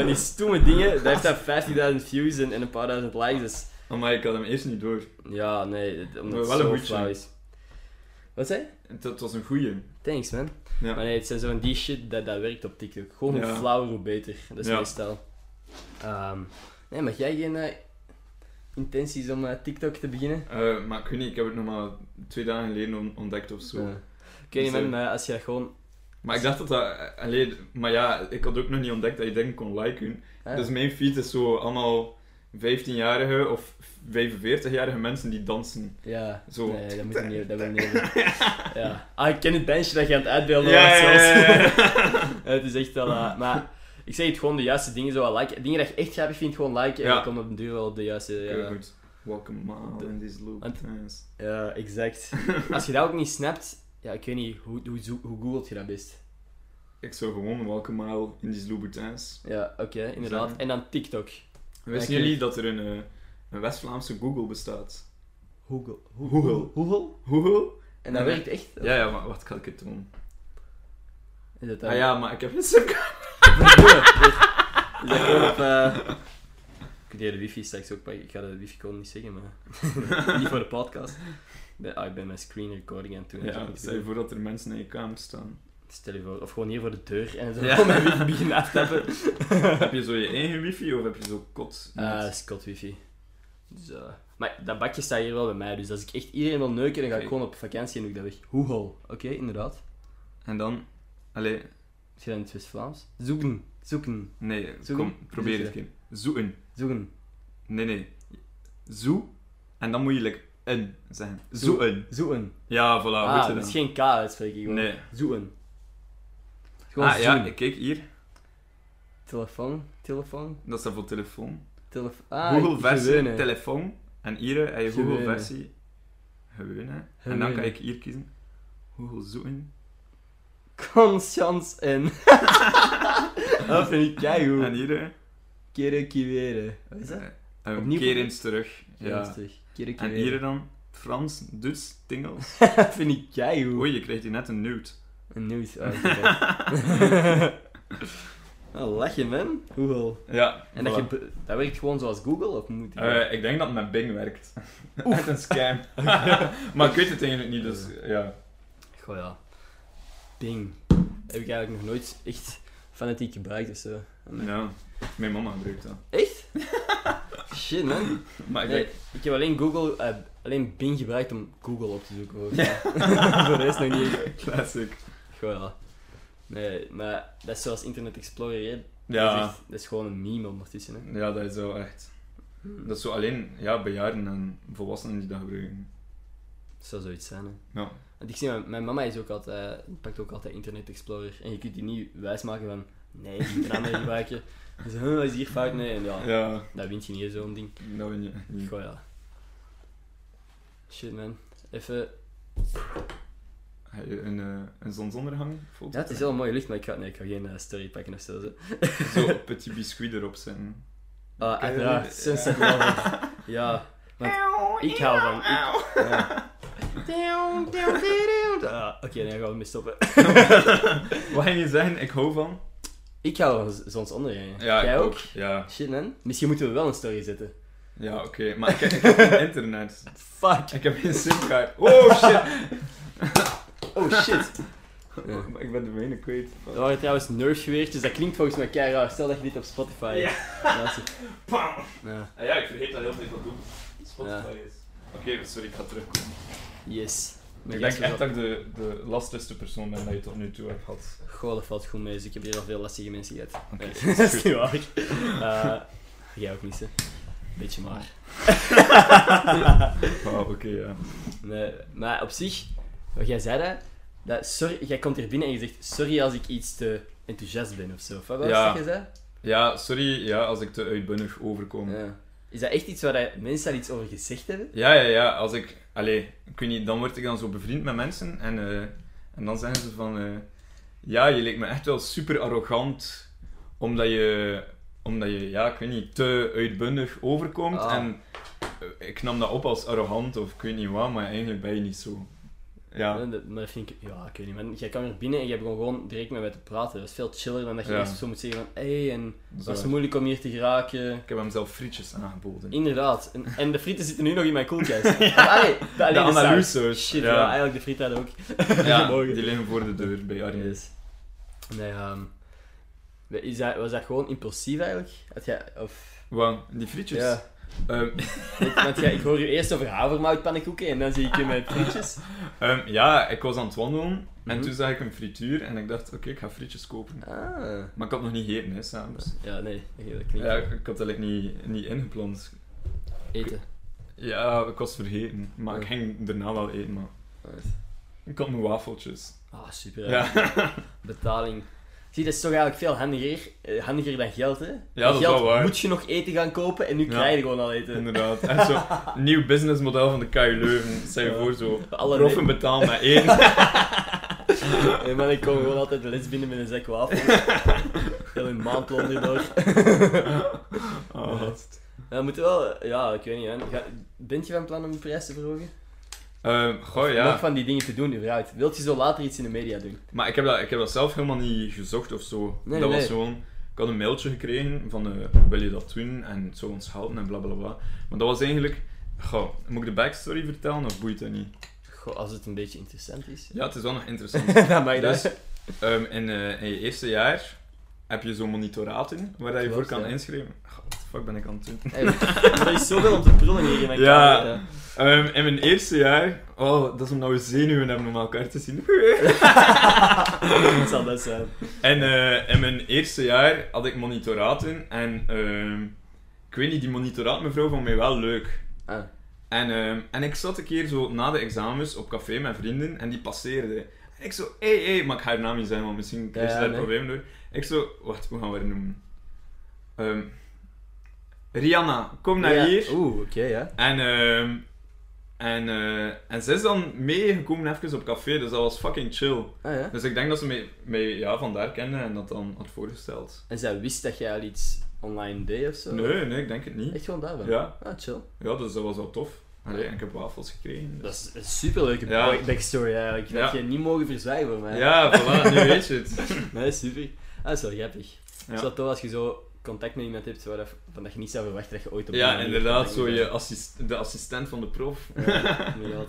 [SPEAKER 1] Oh, die stomme dingen, daar heeft dat 50.000 views en, en een paar duizend likes. Dus
[SPEAKER 2] Maar ik had hem eerst niet door.
[SPEAKER 1] ja, nee, het- omdat
[SPEAKER 2] Maar
[SPEAKER 1] het
[SPEAKER 2] wel een
[SPEAKER 1] zo
[SPEAKER 2] goedje.
[SPEAKER 1] flauw is. Wat zei je?
[SPEAKER 2] Het, het was een goeie.
[SPEAKER 1] Thanks man.
[SPEAKER 2] Ja.
[SPEAKER 1] Maar nee, het zijn zo van die shit dat, dat werkt op TikTok. Gewoon hoe
[SPEAKER 2] Ja.
[SPEAKER 1] flauwer, hoe beter. Dat is
[SPEAKER 2] Ja.
[SPEAKER 1] meestal. Ehm, nee, maar jij geen eh, intenties om eh, TikTok te beginnen?
[SPEAKER 2] Eh, maar ik weet niet, ik heb het nog maar twee dagen geleden on- ontdekt of zo.
[SPEAKER 1] Eh, ik weet niet
[SPEAKER 2] Zo.
[SPEAKER 1] man, maar als je dat gewoon...
[SPEAKER 2] Maar ik dacht dat dat... eh, Allee, maar ja, ik had ook nog niet ontdekt dat je dingen kon liken.
[SPEAKER 1] hè?
[SPEAKER 2] Dus mijn feed is zo allemaal 15-jarige of 45-jarige mensen die dansen.
[SPEAKER 1] Ja,
[SPEAKER 2] Zo.
[SPEAKER 1] nee, dat moet je niet, dat wil je niet doen. ja. Ah, ik ken het bandje dat je aan het uitbeelden
[SPEAKER 2] Ja,
[SPEAKER 1] was
[SPEAKER 2] ja,
[SPEAKER 1] zelfs.
[SPEAKER 2] ja,
[SPEAKER 1] Ja, het is echt wel... eh, maar ik zeg het gewoon, de juiste dingen zo wel liken. Dingen dat je echt grappig vindt, gewoon liken. En
[SPEAKER 2] Ja.
[SPEAKER 1] dan komt op den duur wel op de juiste...
[SPEAKER 2] Oké,
[SPEAKER 1] ja.
[SPEAKER 2] goed. Welcome mile in this loop.
[SPEAKER 1] Want-
[SPEAKER 2] Yes.
[SPEAKER 1] Ja, exact. Als je dat ook niet snapt, ja, ik weet niet, hoe, hoe, zo- hoe googelt je dat best?
[SPEAKER 2] Ik zou gewoon welcome mile in these Louboutins.
[SPEAKER 1] Ja, oké, inderdaad.
[SPEAKER 2] Zijn.
[SPEAKER 1] En dan TikTok.
[SPEAKER 2] Wisten
[SPEAKER 1] ik-
[SPEAKER 2] jullie dat er een, eh, een West-Vlaamse Google bestaat?
[SPEAKER 1] Google.
[SPEAKER 2] Google.
[SPEAKER 1] Google?
[SPEAKER 2] Google?
[SPEAKER 1] En dat
[SPEAKER 2] Nee.
[SPEAKER 1] werkt echt?
[SPEAKER 2] Ja, ja, maar wat kan ik het doen?
[SPEAKER 1] Is dat dan-
[SPEAKER 2] Ah ja, maar ik heb Instagram.
[SPEAKER 1] Is dat gewoon op... eh, Ik weet niet, de wifi straks ook pakken. Ik ga de wifi gewoon niet zeggen, maar... niet voor de podcast. Ik ben, ah, ik ben mijn screen recording aan het doen.
[SPEAKER 2] Ja, stel je voor dat er mensen in je kamer staan.
[SPEAKER 1] Stel je voor. Of gewoon hier voor de deur en zo
[SPEAKER 2] Ja.
[SPEAKER 1] gewoon mijn wifi beginnen af te tappen.
[SPEAKER 2] heb je zo je eigen wifi of heb je zo kot?
[SPEAKER 1] Ah, dat is kot wifi. Dus, eh, Maar dat bakje staat hier wel bij mij, dus als ik echt iedereen wil neuken, dan ga ik
[SPEAKER 2] Oké.
[SPEAKER 1] gewoon op vakantie en doe ik dat weg. Hoehol. Oké, inderdaad.
[SPEAKER 2] En dan... Allee,
[SPEAKER 1] Is je dat in het West-Vlaams? Zoeken. Zoeken.
[SPEAKER 2] nee,
[SPEAKER 1] Zoeken?
[SPEAKER 2] kom, probeer het
[SPEAKER 1] Zoeken.
[SPEAKER 2] een keer. Zoeken.
[SPEAKER 1] Zoeken.
[SPEAKER 2] Nee, nee. Zoe. En dan moet je like een zeggen.
[SPEAKER 1] Zoe.
[SPEAKER 2] Zoeken.
[SPEAKER 1] Zoeken.
[SPEAKER 2] Ja, voilà, goed
[SPEAKER 1] Ah,
[SPEAKER 2] gedaan.
[SPEAKER 1] dat is geen K uitspreek ik gewoon.
[SPEAKER 2] Nee.
[SPEAKER 1] Zoeken. Gewoon
[SPEAKER 2] Ah ja,
[SPEAKER 1] zoen.
[SPEAKER 2] ik kijk hier.
[SPEAKER 1] Telefoon, telefoon,
[SPEAKER 2] Dat staat voor telefoon.
[SPEAKER 1] telefoon. Ah,
[SPEAKER 2] Google versie
[SPEAKER 1] gewone.
[SPEAKER 2] telefoon. En hier heb je Google
[SPEAKER 1] Gewone.
[SPEAKER 2] versie gewoon. hè. En dan kan
[SPEAKER 1] Gewone.
[SPEAKER 2] ik hier kiezen. Google zoeken.
[SPEAKER 1] Conscience en. dat vind ik
[SPEAKER 2] En
[SPEAKER 1] keigoed.
[SPEAKER 2] hier. hè.
[SPEAKER 1] Keren kiweren. Wat is dat?
[SPEAKER 2] Eh, en
[SPEAKER 1] Opnieuw
[SPEAKER 2] keer
[SPEAKER 1] proberen?
[SPEAKER 2] eens terug. Ja.
[SPEAKER 1] Ernstig. Keren
[SPEAKER 2] En
[SPEAKER 1] kiweren.
[SPEAKER 2] hier dan. Frans, Duits, Tingels.
[SPEAKER 1] dat vind ik keigoed.
[SPEAKER 2] Oei, je krijgt hier net een nude.
[SPEAKER 1] Een nieuws. Oh, dat is wel. Nou, lachen man. Google.
[SPEAKER 2] Ja.
[SPEAKER 1] En dat,
[SPEAKER 2] voilà.
[SPEAKER 1] je, be- dat werkt gewoon zoals Google of moet ik-
[SPEAKER 2] Eh, ik denk dat het met Bing werkt. Echt een scam. maar ik weet het eigenlijk niet, dus ja.
[SPEAKER 1] Goh ja. Bing. Dat heb ik eigenlijk nog nooit echt fanatiek gebruikt of zo.
[SPEAKER 2] Ja, mijn mama gebruikt dat.
[SPEAKER 1] Echt? Shit man.
[SPEAKER 2] Maar ik
[SPEAKER 1] Nee,
[SPEAKER 2] denk,
[SPEAKER 1] ik heb alleen Google, eh, alleen Bing gebruikt om Google op te zoeken. hoor. Voor de rest nog niet. echt.
[SPEAKER 2] classic.
[SPEAKER 1] Goh, ja. Nee, maar dat is zoals Internet Explorer. hè. Dat, is
[SPEAKER 2] Ja,
[SPEAKER 1] echt- dat is gewoon een meme ondertussen. Hè.
[SPEAKER 2] ja, dat is wel echt.
[SPEAKER 1] Hmm.
[SPEAKER 2] Dat is zo alleen ja, bejaarden en volwassenen die dat gebruiken.
[SPEAKER 1] Dat zou zoiets zijn. Hè.
[SPEAKER 2] Ja.
[SPEAKER 1] Want ik zie, mijn, mijn mama is ook altijd, die pakt ook altijd Internet Explorer. En je kunt die niet wijsmaken van, nee, je moet een andere gebruiken. Dus, huh, wat is hier fout? Nee, en ja,
[SPEAKER 2] Ja,
[SPEAKER 1] dat wint je niet, zo'n ding.
[SPEAKER 2] dat weet je niet.
[SPEAKER 1] Goh, ja. Shit, man. Even
[SPEAKER 2] Een, eh, een zonsondergang foto.
[SPEAKER 1] Ja, het is heel mooi licht, maar ik ga, nee, ik ga geen eh, story pakken of zo. zo.
[SPEAKER 2] Zo petit biscuit erop zetten.
[SPEAKER 1] Ah,
[SPEAKER 2] Ken je
[SPEAKER 1] uiteraard.
[SPEAKER 2] dat?
[SPEAKER 1] Sunset Lover. Ja. want ik hou van... Ik, ja. Ah, Oké, nee, gaan we mee stoppen.
[SPEAKER 2] Wat ging je zeggen? Ik hou van.
[SPEAKER 1] Ik hou van z- zonsondergang. Jij
[SPEAKER 2] ik
[SPEAKER 1] ook?
[SPEAKER 2] Ja,
[SPEAKER 1] Shit, man. Misschien moeten we wel een story zetten.
[SPEAKER 2] ja oké. Maar ik, heb- ik heb geen internet.
[SPEAKER 1] Fuck.
[SPEAKER 2] Ik heb geen simkaart. Oh shit!
[SPEAKER 1] Oh, shit. Ja.
[SPEAKER 2] Ik ben de mijne kwijt.
[SPEAKER 1] Dat waren trouwens nerfgeweertjes. Dat klinkt volgens mij kei raar. Stel dat je dit op Spotify luistert.
[SPEAKER 2] Bam!
[SPEAKER 1] Ja.
[SPEAKER 2] Ah ja, ik vergeet dat heel veel dat doen.
[SPEAKER 1] Spotify
[SPEAKER 2] is. Oké, sorry, ik ga terugkomen.
[SPEAKER 1] Yes.
[SPEAKER 2] Ik denk echt dat ik de, de lastigste persoon ben dat je tot nu toe hebt gehad.
[SPEAKER 1] Goh, dat valt goed mee. Dus ik heb hier al veel lastige mensen gehad.
[SPEAKER 2] Oké,
[SPEAKER 1] Nee,
[SPEAKER 2] is
[SPEAKER 1] dat is
[SPEAKER 2] goed.
[SPEAKER 1] niet waar. Eh, jij ook niet, hè? Beetje maar.
[SPEAKER 2] Wauw, Ah, oké, ja.
[SPEAKER 1] Nee, maar op zich, wat jij zei dat, dat sorry, jij komt hier binnen en je zegt sorry als ik iets te enthousiast ben of zo. Of Wat was
[SPEAKER 2] Ja.
[SPEAKER 1] dat je zei?
[SPEAKER 2] Ja, sorry ja, als ik te uitbundig overkom.
[SPEAKER 1] Ja. Is dat echt iets waar dat mensen daar iets over gezegd hebben?
[SPEAKER 2] Ja, ja, ja. Als ik, allee, ik weet niet, dan word ik dan zo bevriend met mensen en, eh, en dan zeggen ze van, eh, ja, je leek me echt wel super arrogant, omdat je, omdat je, ja, ik weet niet, te uitbundig overkomt.
[SPEAKER 1] Ah.
[SPEAKER 2] En eh, ik nam dat op als arrogant of ik weet niet wat, maar eigenlijk ben je niet zo. Ja,
[SPEAKER 1] Nee, dat- Maar dat vind ik, ja, ik weet niet. Maar jij kwam hier binnen en je begon gewoon direct met mij te praten. Dat is veel chiller dan dat je
[SPEAKER 2] Ja.
[SPEAKER 1] eerst zo moet zeggen van hé, hey, en
[SPEAKER 2] dat is
[SPEAKER 1] dat is
[SPEAKER 2] waar.
[SPEAKER 1] moeilijk om hier te geraken.
[SPEAKER 2] ik heb hem zelf frietjes aangeboden.
[SPEAKER 1] Inderdaad. En, en de frieten zitten nu nog in mijn koelkast. Ah, Allee, de, allee,
[SPEAKER 2] de
[SPEAKER 1] de saus.
[SPEAKER 2] analyse.
[SPEAKER 1] Shit, ja.
[SPEAKER 2] ja.
[SPEAKER 1] eigenlijk de friet hadden ook.
[SPEAKER 2] Ja,
[SPEAKER 1] Morgen.
[SPEAKER 2] die liggen voor de deur bij Arjen.
[SPEAKER 1] Yes. Nee, ehm, is dat, was dat gewoon impulsief eigenlijk? Had jij, of,
[SPEAKER 2] Wat? Die frietjes?
[SPEAKER 1] ja.
[SPEAKER 2] Ehm,
[SPEAKER 1] Want- Want jij, ik hoor je eerst over havermoutpannenkoeken en dan zie ik je met frietjes.
[SPEAKER 2] Ehm, ja, ik was aan het wandelen en
[SPEAKER 1] Mhm.
[SPEAKER 2] toen zag ik een frituur en ik dacht, oké, ik ga frietjes kopen.
[SPEAKER 1] Ah.
[SPEAKER 2] Maar ik had nog niet gegeten, hè, s'avonds.
[SPEAKER 1] Ja, nee, dat klinkt
[SPEAKER 2] Ja, ik ik had dat eigenlijk niet, niet ingepland.
[SPEAKER 1] eten.
[SPEAKER 2] Ja, ik was vergeten. Maar
[SPEAKER 1] Ja.
[SPEAKER 2] ik ging daarna wel eten, maar... Ik had mijn wafeltjes.
[SPEAKER 1] Ah, super.
[SPEAKER 2] Ja, ja.
[SPEAKER 1] Betaling. Zie, dat is toch eigenlijk veel handiger, eh, handiger dan geld, hè?
[SPEAKER 2] dat is
[SPEAKER 1] geld
[SPEAKER 2] wel waar.
[SPEAKER 1] moet je nog eten gaan kopen en nu
[SPEAKER 2] Ja.
[SPEAKER 1] krijg je gewoon al eten.
[SPEAKER 2] inderdaad. Echt zo, nieuw businessmodel van de KU Leuven. Stel je
[SPEAKER 1] Ja.
[SPEAKER 2] voor, zo,
[SPEAKER 1] Alle
[SPEAKER 2] proffen betalen met eten.
[SPEAKER 1] Nee, maar ik kom gewoon altijd de les binnen met een zak wafels. Heel een maandloon erdoor.
[SPEAKER 2] Oh,
[SPEAKER 1] Ja.
[SPEAKER 2] gast.
[SPEAKER 1] Ja, we moeten wel, ja, ik weet niet. man. Ga, bent je van plan om de prijs te verhogen?
[SPEAKER 2] Ehm, goh,
[SPEAKER 1] Nog
[SPEAKER 2] ja.
[SPEAKER 1] van die dingen te doen, überhaupt. Wilt je zo later iets in de media doen?
[SPEAKER 2] Maar ik heb, dat, ik heb dat zelf helemaal niet gezocht of zo.
[SPEAKER 1] Nee,
[SPEAKER 2] dat
[SPEAKER 1] nee.
[SPEAKER 2] was gewoon... Ik had een mailtje gekregen van eh, wil je dat doen en het zou ons helpen en blablabla. Maar dat was eigenlijk... Goh, moet ik de backstory vertellen of boeit dat niet?
[SPEAKER 1] Goh, als het een beetje interessant is.
[SPEAKER 2] Ja, het is wel nog interessant.
[SPEAKER 1] dan mag je
[SPEAKER 2] Dus,
[SPEAKER 1] dat.
[SPEAKER 2] ehm, in, eh, in je eerste jaar heb je zo'n monitoraten waar dat je voor
[SPEAKER 1] Klopt,
[SPEAKER 2] kan
[SPEAKER 1] ja.
[SPEAKER 2] inschrijven. God, wat de fuck ben ik aan het doen?
[SPEAKER 1] Hey, er is zoveel om te prullen hier in mijn
[SPEAKER 2] Ja.
[SPEAKER 1] kamer, hè.
[SPEAKER 2] Ehm, in mijn eerste jaar... Oh, dat is omdat we zenuwen hebben om elkaar te zien.
[SPEAKER 1] Wat zal dat zijn?
[SPEAKER 2] En eh, in mijn eerste jaar had ik monitoraten en ehm, ik weet niet, die monitoraatmevrouw vond mij wel leuk.
[SPEAKER 1] Ah.
[SPEAKER 2] En, ehm, en ik zat een keer zo na de examens op café met vrienden en die passeerde. En ik zo, hé, hey, hé, hey, maar ik ga haar naam niet zeggen, want misschien krijg je
[SPEAKER 1] Ja,
[SPEAKER 2] daar
[SPEAKER 1] nee.
[SPEAKER 2] problemen door. Ik zo, wacht, hoe gaan we haar noemen? Ehm, Rihanna, kom naar
[SPEAKER 1] Ja.
[SPEAKER 2] hier.
[SPEAKER 1] Oeh, oké, ja.
[SPEAKER 2] En, ehm, en, eh, en ze is dan meegekomen even op café, dus dat was fucking chill.
[SPEAKER 1] Ah, ja.
[SPEAKER 2] Dus ik denk dat ze mij, mij ja, vandaar kende en dat dan had voorgesteld.
[SPEAKER 1] En zij wist dat jij al iets online deed of zo?
[SPEAKER 2] Nee, nee, ik denk het niet.
[SPEAKER 1] Echt gewoon daarvan?
[SPEAKER 2] Ja.
[SPEAKER 1] Ah, chill.
[SPEAKER 2] Ja, dus dat was wel tof. Allee, en ik heb wafels gekregen. dus-
[SPEAKER 1] Dat is een superleuke
[SPEAKER 2] Ja.
[SPEAKER 1] backstory eigenlijk. Dat
[SPEAKER 2] Ja.
[SPEAKER 1] je niet mogen verzwijgen voor mij.
[SPEAKER 2] Ja, voilà, nu weet je het.
[SPEAKER 1] Nee, super. Ah, dat is wel grappig.
[SPEAKER 2] Ja.
[SPEAKER 1] Zo tof als je zo contact met iemand hebt waar dat, van dat je niet zou verwachten dat je ooit op die
[SPEAKER 2] Ja,
[SPEAKER 1] manier
[SPEAKER 2] inderdaad,
[SPEAKER 1] contact
[SPEAKER 2] zo
[SPEAKER 1] hebt.
[SPEAKER 2] je assist, de assistent van de prof.
[SPEAKER 1] Ja, inderdaad.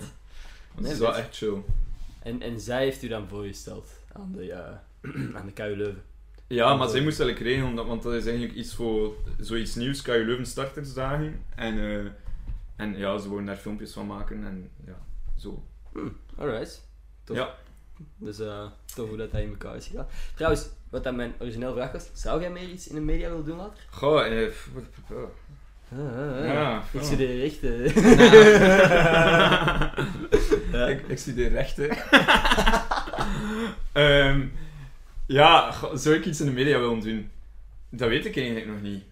[SPEAKER 2] Dat
[SPEAKER 1] Nee,
[SPEAKER 2] is wel
[SPEAKER 1] weet-
[SPEAKER 2] echt chill.
[SPEAKER 1] En, en zij heeft u dan voorgesteld aan de, ja, aan de KU Leuven.
[SPEAKER 2] Ja, maar zij moest dat ik regelen, omdat, want dat is eigenlijk iets voor zoiets nieuws, KU Leuven startersdagen. En, eh, en ja, ze wouden daar filmpjes van maken en ja, zo.
[SPEAKER 1] Alright. Tof.
[SPEAKER 2] Ja.
[SPEAKER 1] Dus eh tof hoe dat hij in elkaar is gegaan. Trouwens, wat dat mijn origineel vraag was, zou jij meer iets in de media willen doen later?
[SPEAKER 2] Goh, eh... f- f- f-
[SPEAKER 1] Ah, ah, ah.
[SPEAKER 2] Ja,
[SPEAKER 1] Ik
[SPEAKER 2] ja.
[SPEAKER 1] studeer rechten. eh, Nou. Ja.
[SPEAKER 2] Ik, ik studeer rechten. Ehm, ja, go- zou ik iets in de media willen doen? Dat weet ik eigenlijk nog niet.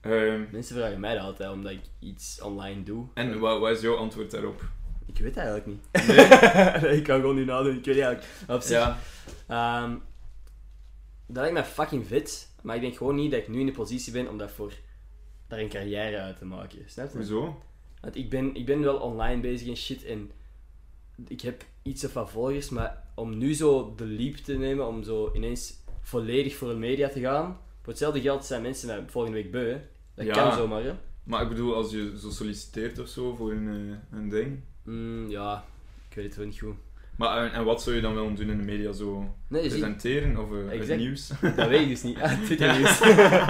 [SPEAKER 2] Ehm,
[SPEAKER 1] Mensen vragen mij dat altijd, omdat ik iets online doe.
[SPEAKER 2] en wat, wat is jouw antwoord daarop?
[SPEAKER 1] Ik weet dat eigenlijk niet.
[SPEAKER 2] Nee.
[SPEAKER 1] ik kan gewoon niet nadoen, ik weet het eigenlijk. Op zich,
[SPEAKER 2] Ja.
[SPEAKER 1] Ehm, dat lijkt me fucking vet, maar ik denk gewoon niet dat ik nu in de positie ben om dat voor daar een carrière uit te maken. Snap je?
[SPEAKER 2] Hoezo?
[SPEAKER 1] Want ik ben, ik ben wel online bezig en shit en ik heb iets of wat volgers, maar om nu zo de leap te nemen, om zo ineens volledig voor de media te gaan, voor hetzelfde geld zijn mensen mij volgende week beu. hè. Dat
[SPEAKER 2] Ja.
[SPEAKER 1] kan zomaar, hè?
[SPEAKER 2] Maar ik bedoel, als je zo solliciteert of zo voor een, eh, een ding.
[SPEAKER 1] Mm, ja, ik weet het wel niet goed.
[SPEAKER 2] Maar en, en wat zou je dan willen doen in de media? Zo
[SPEAKER 1] Nee, je ziet,
[SPEAKER 2] presenteren of eh, het
[SPEAKER 1] Exact.
[SPEAKER 2] nieuws?
[SPEAKER 1] dat weet ik dus niet. Ah, Twitter nieuws.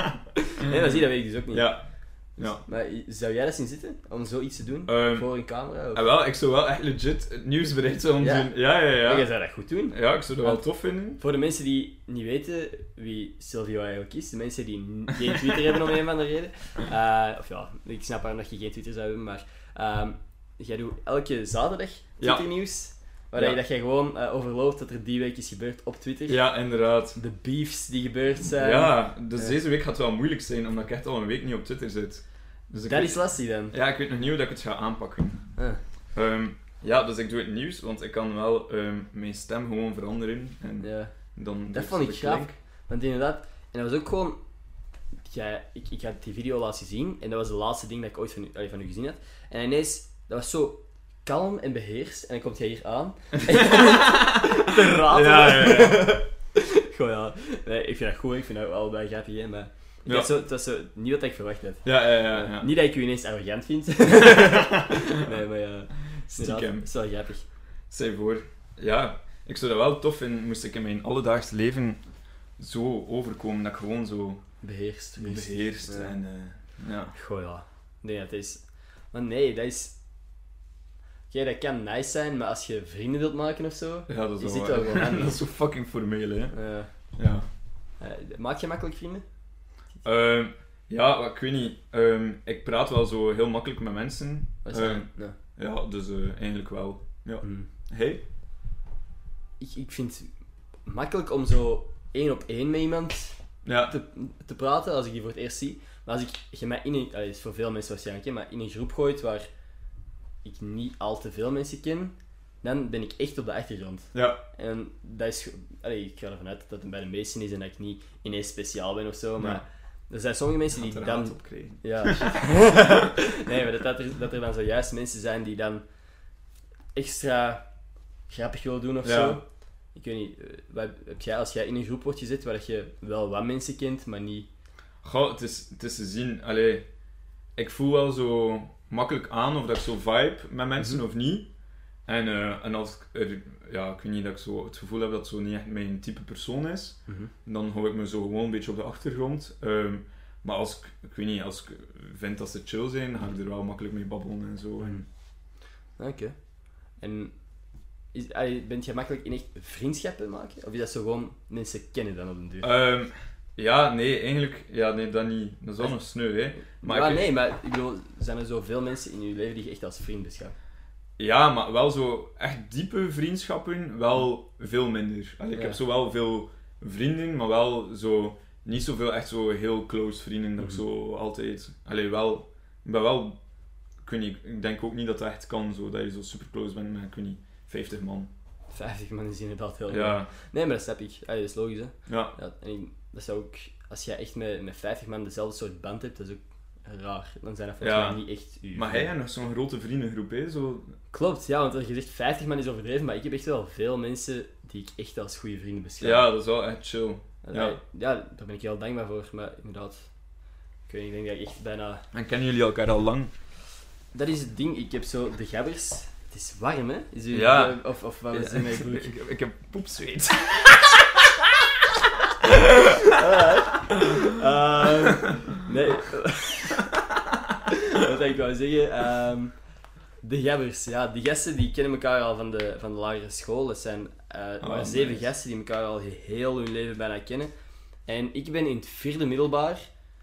[SPEAKER 1] nee, maar zie, dat weet ik dus ook niet.
[SPEAKER 2] ja. Ja.
[SPEAKER 1] Maar zou jij dat zien zitten, om zoiets te doen?
[SPEAKER 2] Ehm,
[SPEAKER 1] voor een camera? Of...
[SPEAKER 2] en wel, ik zou wel echt legit het nieuwsbericht zo
[SPEAKER 1] Ja.
[SPEAKER 2] doen. Ja, ja,
[SPEAKER 1] Maar Jij
[SPEAKER 2] ja.
[SPEAKER 1] zou dat goed doen.
[SPEAKER 2] Ja, ik zou dat wel tof vinden.
[SPEAKER 1] Voor de mensen die niet weten wie Silvio eigenlijk is, de mensen die n- geen Twitter hebben om een of andere reden, eh, of ja, ik snap waarom dat je geen Twitter zou hebben, maar ehm, jij doet elke zaterdag
[SPEAKER 2] Ja.
[SPEAKER 1] Twitternieuws, waarin
[SPEAKER 2] Ja.
[SPEAKER 1] dat jij gewoon eh, overloopt wat er die week is gebeurd op Twitter.
[SPEAKER 2] Ja, inderdaad.
[SPEAKER 1] De beefs die gebeurd zijn.
[SPEAKER 2] Ja, dus
[SPEAKER 1] Eh, ja.
[SPEAKER 2] deze week gaat wel moeilijk zijn, omdat ik echt al een week niet op Twitter zit. Dus ik
[SPEAKER 1] Dat
[SPEAKER 2] weet-
[SPEAKER 1] is lastig dan.
[SPEAKER 2] Ja, ik weet nog niet hoe dat ik het ga aanpakken.
[SPEAKER 1] Ah.
[SPEAKER 2] Ehm, ja, dus ik doe het nieuws, want ik kan wel ehm, mijn stem gewoon veranderen. En
[SPEAKER 1] Ja.
[SPEAKER 2] dan doe
[SPEAKER 1] Dat
[SPEAKER 2] ik
[SPEAKER 1] vond
[SPEAKER 2] zo
[SPEAKER 1] ik
[SPEAKER 2] de
[SPEAKER 1] gaaf.
[SPEAKER 2] klink.
[SPEAKER 1] Want inderdaad, en dat was ook gewoon. jij- ik, ik had die video laten zien en dat was de laatste ding dat ik ooit van u, allee, van u gezien had. En ineens, dat was zo kalm en beheerst. En dan komt jij hier aan. En je begint te ratelen.
[SPEAKER 2] Ja, ja,
[SPEAKER 1] Goh, ja. Nee, ik vind dat goed, ik vind dat wel bij grappig, hè, maar. Ik
[SPEAKER 2] Ja.
[SPEAKER 1] had zo, het was zo niet wat ik verwacht had.
[SPEAKER 2] Ja, ja, ja. ja.
[SPEAKER 1] Niet dat ik u ineens arrogant vind. nee, maar ja. Inderdaad,
[SPEAKER 2] Stiekem.
[SPEAKER 1] het is wel grappig.
[SPEAKER 2] Zij voor. Ja, ik zou dat wel tof vinden, moest ik in mijn alledaags leven zo overkomen dat ik gewoon zo
[SPEAKER 1] Beheerst.
[SPEAKER 2] beheerst.
[SPEAKER 1] Ja.
[SPEAKER 2] En, eh, ja.
[SPEAKER 1] Goh ja. Nee, dat is. Maar nee, dat is. Oké, dat kan nice zijn, maar als je vrienden wilt maken of zo.
[SPEAKER 2] ja, dat
[SPEAKER 1] Je
[SPEAKER 2] is
[SPEAKER 1] ziet
[SPEAKER 2] wel,
[SPEAKER 1] dat wel aan.
[SPEAKER 2] dat is zo fucking formeel, hè.
[SPEAKER 1] eh,
[SPEAKER 2] Ja.
[SPEAKER 1] eh, maak je makkelijk vrienden?
[SPEAKER 2] Ehm, ja, wat ik weet niet. Ehm, ik praat wel zo heel makkelijk met mensen.
[SPEAKER 1] Wat is dat?
[SPEAKER 2] Ehm,
[SPEAKER 1] Nou,
[SPEAKER 2] ja, dus eh, eigenlijk wel. Ja.
[SPEAKER 1] hmm.
[SPEAKER 2] Hey?
[SPEAKER 1] ik, ik vind het makkelijk om zo één op één met iemand
[SPEAKER 2] Ja.
[SPEAKER 1] te, te praten als ik die voor het eerst zie. Maar als ik je mij in een, allee, is voor veel mensen waarschijnlijk, hè, maar in een groep gooit waar ik niet al te veel mensen ken, dan ben ik echt op de achtergrond.
[SPEAKER 2] Ja.
[SPEAKER 1] En dat is... ge- Allee, ik ga ervan uit dat het bij de meesten is en dat ik niet ineens speciaal ben of zo, maar... Er zijn sommige mensen die
[SPEAKER 2] Had er
[SPEAKER 1] dan...
[SPEAKER 2] haat op kregen.
[SPEAKER 1] Ja, shit. nee, maar dat, dat, er, dat er dan zojuist mensen zijn die dan extra grappig willen doen of
[SPEAKER 2] Ja.
[SPEAKER 1] zo. Ik weet niet, eh, wat, heb jij, als jij in een groep wordt gezet waar dat je wel wat mensen kent, maar niet...
[SPEAKER 2] Goh, het is, het is te zien. Allee, ik voel wel zo makkelijk aan of dat ik zo vibe met mensen of niet. En, eh, en als ik er, ja, ik weet niet, dat ik zo het gevoel heb dat het zo niet echt mijn type persoon is, dan hou ik me zo gewoon een beetje op de achtergrond. Ehm, maar als ik, ik weet niet, als ik vind dat ze chill zijn, dan ga ik er wel makkelijk mee babbelen en zo. En-
[SPEAKER 1] Ah, Oké. En is, allee, bent jij makkelijk in echt vriendschappen maken? Of is dat zo gewoon mensen kennen dan op den duur?
[SPEAKER 2] Ehm, ja, nee, eigenlijk, ja, nee, dat niet. Dat is wel nog sneu, hè.
[SPEAKER 1] Maar
[SPEAKER 2] ik-
[SPEAKER 1] nee, maar ik bedoel, zijn er zoveel mensen in je leven die je echt als vriend beschouwt?
[SPEAKER 2] Ja, maar wel zo echt diepe vriendschappen, wel veel minder. Allee, ik
[SPEAKER 1] Ja.
[SPEAKER 2] heb zo wel veel vrienden, maar wel zo niet zoveel echt zo heel close vrienden. Dat ik zo altijd. Allee, wel. Ik ben wel. Ik, weet niet, ik denk ook niet dat dat echt kan, zo, dat je zo super close bent met, ik weet niet, 50 man.
[SPEAKER 1] 50 man is inderdaad heel veel.
[SPEAKER 2] Ja,
[SPEAKER 1] Nee, maar dat snap ik. Allee, dat is logisch, hè.
[SPEAKER 2] ja,
[SPEAKER 1] Ja, en ik- dat zou ook... Als jij echt met, met 50 man dezelfde soort band hebt, dat is ook raar. Dan zijn dat volgens
[SPEAKER 2] Ja.
[SPEAKER 1] mij niet echt uw...
[SPEAKER 2] Maar hij heeft nog zo'n grote vriendengroep, hè? Zo,
[SPEAKER 1] Klopt, ja, want als je zegt 50 man is overdreven, maar ik heb echt wel veel mensen die ik echt als goede vrienden beschouw.
[SPEAKER 2] ja, dat is wel echt chill.
[SPEAKER 1] En
[SPEAKER 2] ja.
[SPEAKER 1] dat- ja, daar ben ik heel dankbaar voor, maar inderdaad... Ik weet niet, ik denk dat ik echt bijna...
[SPEAKER 2] En kennen jullie elkaar al lang?
[SPEAKER 1] Dat is het ding, ik heb zo de gabbers... Het is warm, hè? Is u,
[SPEAKER 2] Ja.
[SPEAKER 1] Of, of wat was het mijn broek?
[SPEAKER 2] ik, ik heb poepzweet.
[SPEAKER 1] Ehm, nee. Wat ik wou zeggen. ehm, de gabbers, ja. Die gasten die kennen elkaar al van de, van de lagere school. Dat zijn eh,
[SPEAKER 2] Oh,
[SPEAKER 1] maar zeven
[SPEAKER 2] nice.
[SPEAKER 1] gasten die elkaar al heel hun leven bijna kennen. En ik ben in het vierde middelbaar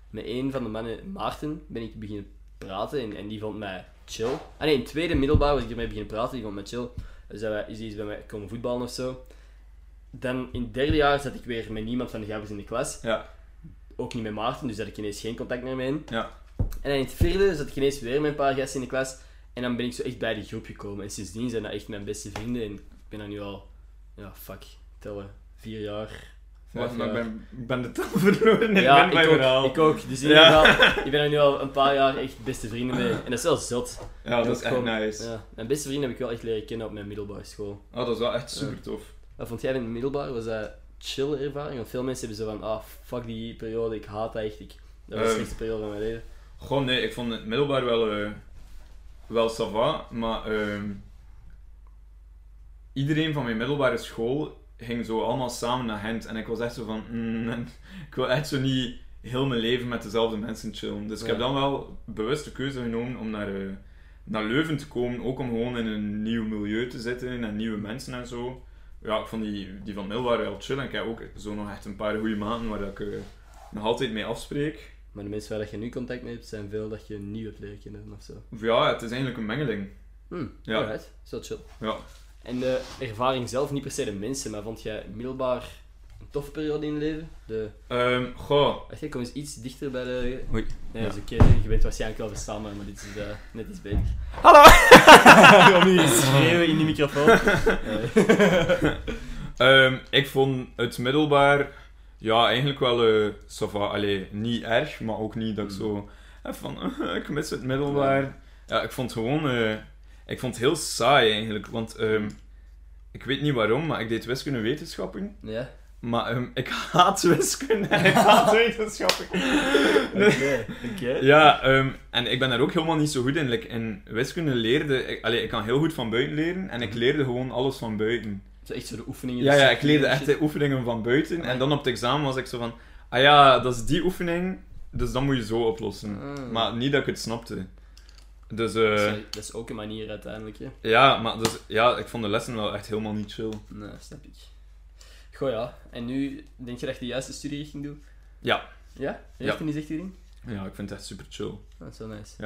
[SPEAKER 1] met een van de mannen, Maarten, ben ik beginnen praten en, en die vond mij chill. Ah nee, in het tweede middelbaar was ik ermee beginnen praten, die vond mij chill. Dus dat wij- is die eens bij mij komen voetballen of zo. Dan in het derde jaar zat ik weer met niemand van de gabbers in de klas
[SPEAKER 2] Ja,
[SPEAKER 1] ook niet met Maarten, dus had ik ineens geen contact meer mee.
[SPEAKER 2] ja.
[SPEAKER 1] En in het vierde zat ik ineens weer met een paar gasten in de klas. En dan ben ik zo echt bij die groep gekomen. En sindsdien zijn dat echt mijn beste vrienden. En ik ben dat nu al, ja, fuck, tellen, vier jaar.
[SPEAKER 2] Wacht,
[SPEAKER 1] vijf
[SPEAKER 2] maar ik
[SPEAKER 1] jaar.
[SPEAKER 2] ben, ik ben de tel verloren. Ik
[SPEAKER 1] Ja,
[SPEAKER 2] ben mijn
[SPEAKER 1] ik
[SPEAKER 2] verhaal.
[SPEAKER 1] ook, ik ook. Dus in
[SPEAKER 2] Ja.
[SPEAKER 1] ieder geval, ik ben er nu al een paar jaar echt beste vrienden mee. En dat is wel zot.
[SPEAKER 2] ja, dat is echt
[SPEAKER 1] Gewoon-
[SPEAKER 2] nice.
[SPEAKER 1] Ja. Mijn beste vrienden heb ik wel echt leren kennen op mijn middelbare school.
[SPEAKER 2] Oh, dat is wel echt super tof.
[SPEAKER 1] Wat vond jij in het middelbaar? Was dat chill ervaring? Want veel mensen hebben zo van, ah, fuck die periode, ik haat dat echt. Ik, dat was de
[SPEAKER 2] Ehm.
[SPEAKER 1] slechtste periode van mijn leven.
[SPEAKER 2] Gewoon, nee, ik vond het middelbaar wel, eh wel ça va, maar ehm, iedereen van mijn middelbare school ging zo allemaal samen naar Gent en ik was echt zo van, mm, en ik wil echt zo niet heel mijn leven met dezelfde mensen chillen. Dus ik heb
[SPEAKER 1] Ja.
[SPEAKER 2] dan wel bewust de keuze genomen om naar, eh, naar Leuven te komen, ook om gewoon in een nieuw milieu te zitten en nieuwe mensen en zo. Ja, ik vond die, die van middelbaar wel chill en ik heb ook zo nog echt een paar goede maanden waar ik eh, nog altijd mee afspreek.
[SPEAKER 1] Maar de mensen waar dat je nu contact mee hebt, zijn veel dat je nieuw hebt leren kennen of zo.
[SPEAKER 2] Ja, het is eigenlijk een mengeling.
[SPEAKER 1] Hm,
[SPEAKER 2] Ja.
[SPEAKER 1] alright. Is wel chill.
[SPEAKER 2] Ja.
[SPEAKER 1] En de ervaring zelf, niet per se de mensen, maar vond jij middelbaar een toffe periode in je leven? De,
[SPEAKER 2] Ehm, goh.
[SPEAKER 1] wacht, ik kom eens iets dichter bij de...
[SPEAKER 2] Oei.
[SPEAKER 1] Nee,
[SPEAKER 2] Ja.
[SPEAKER 1] dat is oké. Je bent waarschijnlijk wel verstaanbaar, maar dit is eh, net iets beter. Hallo! Om nu te schreeuwen in die microfoon. Eh,
[SPEAKER 2] Ehm, ik vond het middelbaar, ja, eigenlijk wel, eh ça va. Allee, niet erg, maar ook niet dat ik zo, eh, van, ik mis het middelbaar. Ja, ik vond gewoon, eh, ik vond het heel saai eigenlijk, want ehm, ik weet niet waarom, maar ik deed wiskunde wetenschappen,
[SPEAKER 1] ja.
[SPEAKER 2] maar ehm, ik haat wiskunde en ik haat wetenschappen.
[SPEAKER 1] Oké. oké.
[SPEAKER 2] Ja, ehm, en ik ben daar ook helemaal niet zo goed in. Like, in wiskunde leerde ik, allee, ik kan heel goed van buiten leren en ik leerde gewoon alles van buiten.
[SPEAKER 1] Zo echt zo de oefeningen.
[SPEAKER 2] Mhm. Ja,
[SPEAKER 1] dus
[SPEAKER 2] ja,
[SPEAKER 1] zo-
[SPEAKER 2] ik leerde echt Ah.
[SPEAKER 1] shit.
[SPEAKER 2] de oefeningen van buiten. En dan op het examen was ik zo van... Ah ja, dat is die oefening, dus dat moet je zo oplossen.
[SPEAKER 1] Ah.
[SPEAKER 2] Maar niet dat ik het snapte. Dus eh,
[SPEAKER 1] Dat is- dat is ook een manier uiteindelijk. Hè.
[SPEAKER 2] ja, maar dus, ja, ik vond de lessen wel echt helemaal niet chill.
[SPEAKER 1] Nee, Nou, snap ik. Goh ja, en nu denk je dat je de juiste studierichting doet?
[SPEAKER 2] Ja.
[SPEAKER 1] Ja? Richting is echt hierin?
[SPEAKER 2] Ja, ik vind het echt super chill.
[SPEAKER 1] Dat is wel Ah, nice.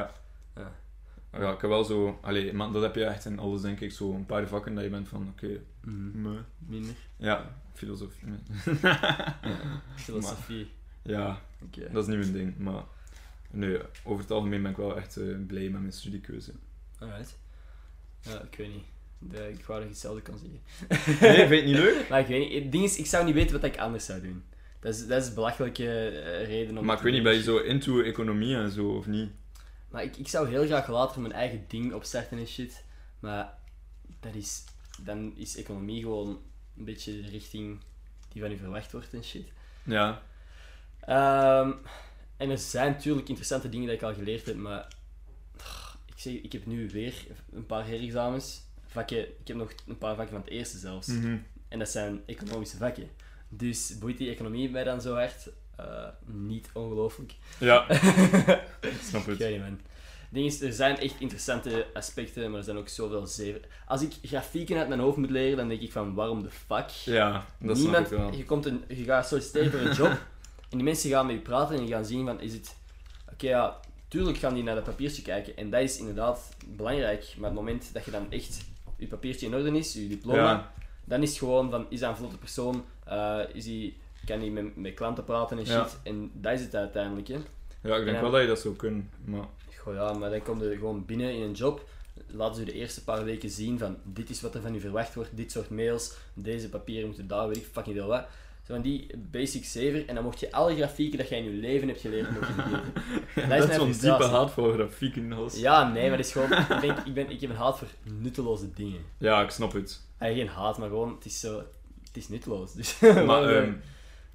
[SPEAKER 2] Ja, ik heb wel zo... Allee, maar dat heb je echt in alles, denk ik. Zo een paar vakken dat je bent van, oké, meh.
[SPEAKER 1] Minder.
[SPEAKER 2] Ja, filosofie. meh.
[SPEAKER 1] Filosofie.
[SPEAKER 2] Ja,
[SPEAKER 1] Oké.
[SPEAKER 2] dat is niet mijn ding, maar... Nee, over het algemeen ben ik wel echt eh, blij met mijn studiekeuze.
[SPEAKER 1] Alright. Ja, ik weet niet. De- ik wou nog hetzelfde kan zeggen.
[SPEAKER 2] Nee, vind je het niet leuk?
[SPEAKER 1] Maar ik weet niet. Het ding is, ik zou niet weten wat ik anders zou doen. Dat is, dat is een belachelijke eh, reden om...
[SPEAKER 2] Maar
[SPEAKER 1] te
[SPEAKER 2] ik weet niet,
[SPEAKER 1] doen.
[SPEAKER 2] ben je zo into economie en zo, of niet?
[SPEAKER 1] Maar ik, ik zou heel graag later mijn eigen ding opstarten en shit. Maar dat is, dan is economie gewoon een beetje de richting die van u verwacht wordt en shit.
[SPEAKER 2] Ja.
[SPEAKER 1] Ehm, en er zijn natuurlijk interessante dingen die ik al geleerd heb, maar pff, ik, zeg, ik heb nu weer een paar herexamens. Vakken, ik heb nog een paar vakken van het eerste zelfs.
[SPEAKER 2] Mhm.
[SPEAKER 1] En dat zijn economische vakken. Dus boeit die economie mij dan zo hard? Eh, niet ongelooflijk.
[SPEAKER 2] Ja. Ik snap
[SPEAKER 1] Ik
[SPEAKER 2] het.
[SPEAKER 1] weet niet, man. Het ding is, er zijn echt interessante aspecten, maar er zijn ook zoveel zeven. Als ik grafieken uit mijn hoofd moet leren, dan denk ik van, waarom de fuck?
[SPEAKER 2] Ja, dat snap ik
[SPEAKER 1] Niemand,
[SPEAKER 2] wel.
[SPEAKER 1] je, komt een, je gaat solliciteren voor een job, en die mensen gaan met je praten en die gaan zien van, is het... Oké, ja, tuurlijk gaan die naar dat papiertje kijken, en dat is inderdaad belangrijk, maar het moment dat je dan echt je papiertje in orde is, je diploma,
[SPEAKER 2] Ja.
[SPEAKER 1] dan is het gewoon van, is dat een vlotte persoon, Eh, is die, kan die met, met klanten praten en shit,
[SPEAKER 2] Ja.
[SPEAKER 1] en dat is het uiteindelijk, hè.
[SPEAKER 2] Ja, ik denk
[SPEAKER 1] Ja.
[SPEAKER 2] wel dat je dat zou kunnen, maar...
[SPEAKER 1] Goh ja, maar dan kom je gewoon binnen in een job. Laten ze je de eerste paar weken zien van dit is wat er van u verwacht wordt, dit soort mails, deze papieren moeten daar, weet ik fucking veel wat. Zo van die basic saver en dan mocht je alle grafieken dat jij in je leven hebt geleerd nog gegeven. mijn
[SPEAKER 2] dat is zo'n diepe
[SPEAKER 1] frustratie.
[SPEAKER 2] haat voor grafieken. als-
[SPEAKER 1] Ja, nee, maar dat is gewoon, ik, denk, ik, ben, ik heb een haat voor nutteloze dingen.
[SPEAKER 2] Ja, ik snap het.
[SPEAKER 1] Eigenlijk geen haat, maar gewoon, het is zo, het is nutteloos. Dus,
[SPEAKER 2] Maar
[SPEAKER 1] waarom-
[SPEAKER 2] ehm,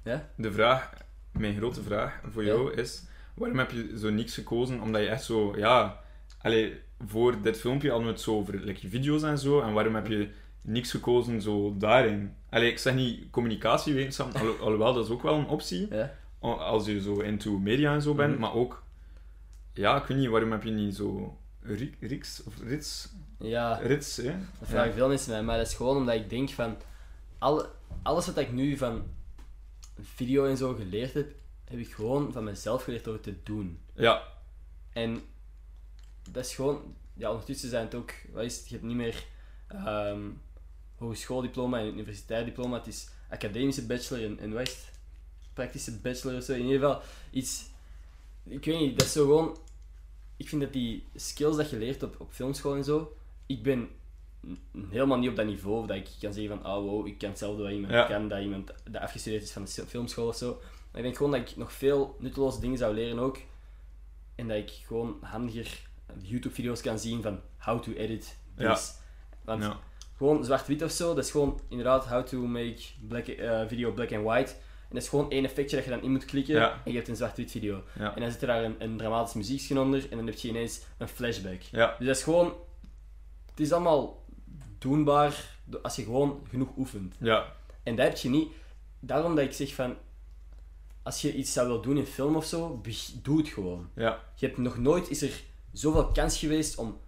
[SPEAKER 1] eh, Ja?
[SPEAKER 2] de vraag, mijn grote vraag voor
[SPEAKER 1] Ja?
[SPEAKER 2] jou is: waarom heb je zo niks gekozen? Omdat je echt zo, ja, allee, voor dit filmpje hadden we het zo over like, je video's en zo, en waarom heb je niks gekozen zo daarin? Allee, ik zeg niet communicatiewetenschappen, alho- alhoewel dat is ook wel een optie
[SPEAKER 1] ja? Mhm.
[SPEAKER 2] al- als je zo into media en zo bent, maar ook, ja, ik weet niet, waarom heb je niet zo Ri- Riks of Rits?
[SPEAKER 1] ja,
[SPEAKER 2] Rits, hè?
[SPEAKER 1] Dat vragen veel mensen mij, maar dat is gewoon omdat ik denk van... Alle, alles wat ik nu van video en zo geleerd heb, heb ik gewoon van mezelf geleerd door het te doen.
[SPEAKER 2] Ja,
[SPEAKER 1] En dat is gewoon... Ja, ondertussen zijn het ook... Wat is het? Je hebt niet meer ehm, hogeschooldiploma en universitair diploma. Het is academische bachelor en, en wat is het? Praktische bachelor of zo. In ieder geval iets... Ik weet niet, dat is zo gewoon... ik vind dat die skills dat je leert op, op filmschool en zo, ik ben n- helemaal niet op dat niveau dat ik kan zeggen van, oh wow, ik kan hetzelfde wat iemand
[SPEAKER 2] Ja.
[SPEAKER 1] kan, dat iemand dat afgestudeerd is van de sil- filmschool of zo. Maar ik denk gewoon dat ik nog veel nutteloze dingen zou leren ook. En dat ik gewoon handiger YouTube-video's kan zien van how to edit this. Want
[SPEAKER 2] Ja.
[SPEAKER 1] gewoon zwart-wit of zo, dat is gewoon inderdaad how to make black, eh, video black and white. En dat is gewoon één effectje dat je dan in moet klikken
[SPEAKER 2] Ja.
[SPEAKER 1] en je hebt een zwart-wit video.
[SPEAKER 2] Ja.
[SPEAKER 1] En dan zit er daar een, een dramatisch muziekje onder en dan heb je ineens een flashback.
[SPEAKER 2] Ja.
[SPEAKER 1] Dus dat is gewoon... Het is allemaal doenbaar do- als je gewoon genoeg oefent.
[SPEAKER 2] Ja.
[SPEAKER 1] En dat heb je niet. Daarom dat ik zeg van... Als je iets zou willen doen in film of zo, beg- doe het gewoon.
[SPEAKER 2] Ja.
[SPEAKER 1] Je hebt nog nooit is er zoveel kans geweest om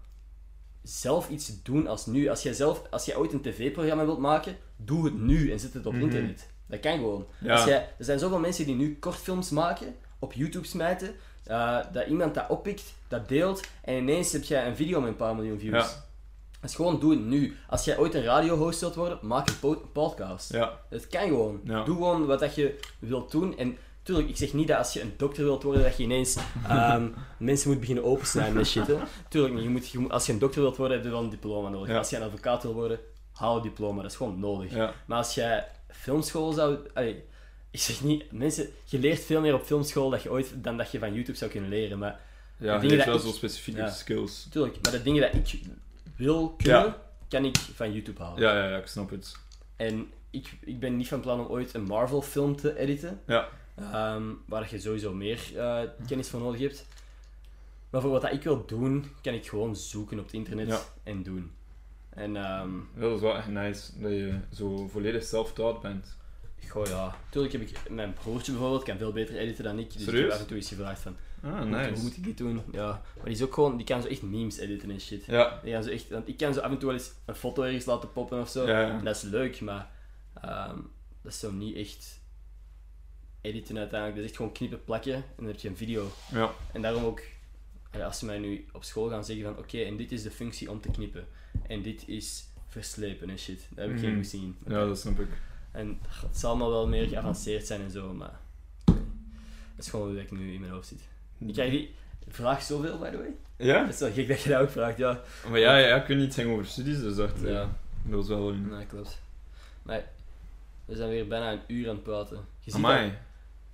[SPEAKER 1] zelf iets te doen als nu. Als jij, zelf, als jij ooit een tv-programma wilt maken, doe het nu en zet het op internet. Dat kan gewoon.
[SPEAKER 2] Mhm. Ja.
[SPEAKER 1] Als jij, er zijn zoveel mensen die nu kortfilms maken, op YouTube smijten, eh, dat iemand dat oppikt, dat deelt en ineens heb jij een video met een paar miljoen views.
[SPEAKER 2] Ja.
[SPEAKER 1] Dus gewoon doe het nu. Als jij ooit een radiohost wilt worden, maak een po- podcast.
[SPEAKER 2] Ja.
[SPEAKER 1] Het kan gewoon.
[SPEAKER 2] Ja.
[SPEAKER 1] Doe gewoon wat dat je wilt doen. En tuurlijk, ik zeg niet dat als je een dokter wilt worden, dat je ineens ehm, mensen moet beginnen opensnijden en shit. Hè. Tuurlijk niet. Je moet, je moet- als je een dokter wilt worden, heb je wel een diploma nodig.
[SPEAKER 2] Ja.
[SPEAKER 1] Als je een advocaat wil worden, haal een diploma. Dat is gewoon nodig.
[SPEAKER 2] Ja.
[SPEAKER 1] Maar als jij filmschool zou... allee, ik zeg niet... Mensen, je leert veel meer op filmschool dat je ooit, dan dat je van YouTube zou kunnen leren. Maar
[SPEAKER 2] Ja, je
[SPEAKER 1] dingen
[SPEAKER 2] hebt
[SPEAKER 1] dat
[SPEAKER 2] wel
[SPEAKER 1] ik-
[SPEAKER 2] zo specifieke
[SPEAKER 1] Ja.
[SPEAKER 2] skills.
[SPEAKER 1] tuurlijk, maar de dingen dat ik wil kunnen,
[SPEAKER 2] Ja.
[SPEAKER 1] kan ik van YouTube halen.
[SPEAKER 2] Ja, ja, ja, ik snap het.
[SPEAKER 1] En ik, ik ben niet van plan om ooit een Marvel-film te editen.
[SPEAKER 2] Ja.
[SPEAKER 1] Ehm, waar je sowieso meer eh, kennis van nodig hebt. Maar voor wat dat ik wil doen, kan ik gewoon zoeken op het internet
[SPEAKER 2] Ja.
[SPEAKER 1] en doen. En ehm
[SPEAKER 2] Dat is wel echt nice, dat je zo volledig self-taught bent.
[SPEAKER 1] goh ja, natuurlijk heb ik mijn broertje bijvoorbeeld, kan veel beter editen dan ik. Dus ik heb
[SPEAKER 2] Serieus?
[SPEAKER 1] af en toe eens gevraagd van,
[SPEAKER 2] Ah,
[SPEAKER 1] hoe moet- hoe
[SPEAKER 2] nice.
[SPEAKER 1] moet ik dit doen? Ja. Maar die is ook gewoon, die kan zo echt memes editen en shit.
[SPEAKER 2] Ja,
[SPEAKER 1] Die kan zo echt, want ik kan zo af en toe wel eens een foto ergens laten poppen of zo.
[SPEAKER 2] Ja, ja.
[SPEAKER 1] En dat is leuk, maar ehm, dat is zo niet echt editen uiteindelijk. Dat is echt gewoon knippen, plakken en dan heb je een video.
[SPEAKER 2] ja,
[SPEAKER 1] En daarom ook, allee, als ze mij nu op school gaan zeggen van oké, en dit is de functie om te knippen. En dit is verslepen en shit. Dat heb ik geen
[SPEAKER 2] Mhm.
[SPEAKER 1] goesting in.
[SPEAKER 2] ja, dat snap ik.
[SPEAKER 1] En ach, het zal allemaal wel meer geavanceerd zijn en zo, maar... Dat is gewoon hoe ik nu in mijn hoofd zit. Ik krijg die vraag zoveel, by the way.
[SPEAKER 2] Ja?
[SPEAKER 1] Dat is wel gek dat je dat ook vraagt, ja.
[SPEAKER 2] Maar ja, ja, ik weet niet zeggen over studies, dus dat, eh, dat is wel een...
[SPEAKER 1] Nee, klopt. Maar we zijn weer bijna een uur aan het praten. Je ziet dat-
[SPEAKER 2] Amai.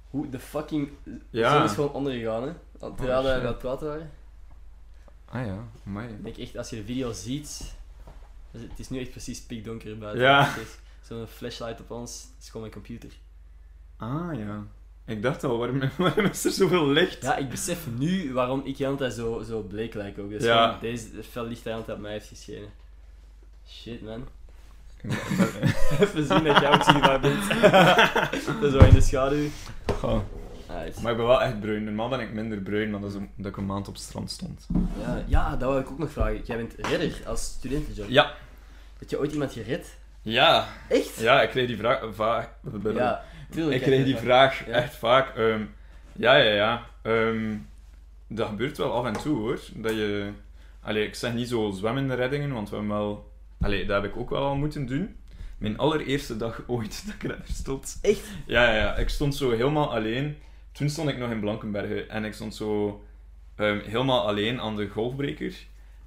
[SPEAKER 1] hoe de fucking
[SPEAKER 2] Ja.
[SPEAKER 1] zon is gewoon ondergegaan, hè. Want terwijl
[SPEAKER 2] Oh,
[SPEAKER 1] we
[SPEAKER 2] shit.
[SPEAKER 1] aan het praten waren.
[SPEAKER 2] Ah ja, amai.
[SPEAKER 1] Ik denk echt, als je de video ziet... dus het is nu echt precies pikdonker buiten.
[SPEAKER 2] Ja.
[SPEAKER 1] Het is Zo'n flashlight op ons, dat is gewoon mijn computer.
[SPEAKER 2] Ah ja. Ik dacht al, waarom, waarom is er zoveel licht?
[SPEAKER 1] Ja, ik besef nu waarom ik de hele tijd zo, zo bleek lijk ook. Dus
[SPEAKER 2] Ja.
[SPEAKER 1] gewoon deze fel licht de hele tijd op mij heeft geschenen. Shit, man. Even zien dat jij ook zichtbaar bent. dat is wel in de schaduw.
[SPEAKER 2] Goh.
[SPEAKER 1] Alright.
[SPEAKER 2] Maar ik ben wel echt bruin. Normaal ben ik minder bruin, maar dat is omdat ik een maand op het strand stond.
[SPEAKER 1] Ja, ja, dat wil ik ook nog vragen. Jij bent redder als studentenjob.
[SPEAKER 2] Ja.
[SPEAKER 1] Heb je ooit iemand gered?
[SPEAKER 2] Ja.
[SPEAKER 1] Echt?
[SPEAKER 2] Ja, ik kreeg die vraag... va-
[SPEAKER 1] Ja, tuurlijk.
[SPEAKER 2] ik kreeg die vraag
[SPEAKER 1] Ja.
[SPEAKER 2] echt vaak. ehm, ja, ja, ja. Ehm, dat gebeurt wel af en toe hoor. Dat je. Allee, ik zeg niet zo zwemmende reddingen, want we hebben wel. Allee, dat heb ik ook wel al moeten doen. Mijn allereerste dag ooit dat ik redder stond.
[SPEAKER 1] Echt?
[SPEAKER 2] Ja, ja, ja. Ik stond zo helemaal alleen. Toen stond ik nog in Blankenbergen en ik stond zo ehm, helemaal alleen aan de golfbreker.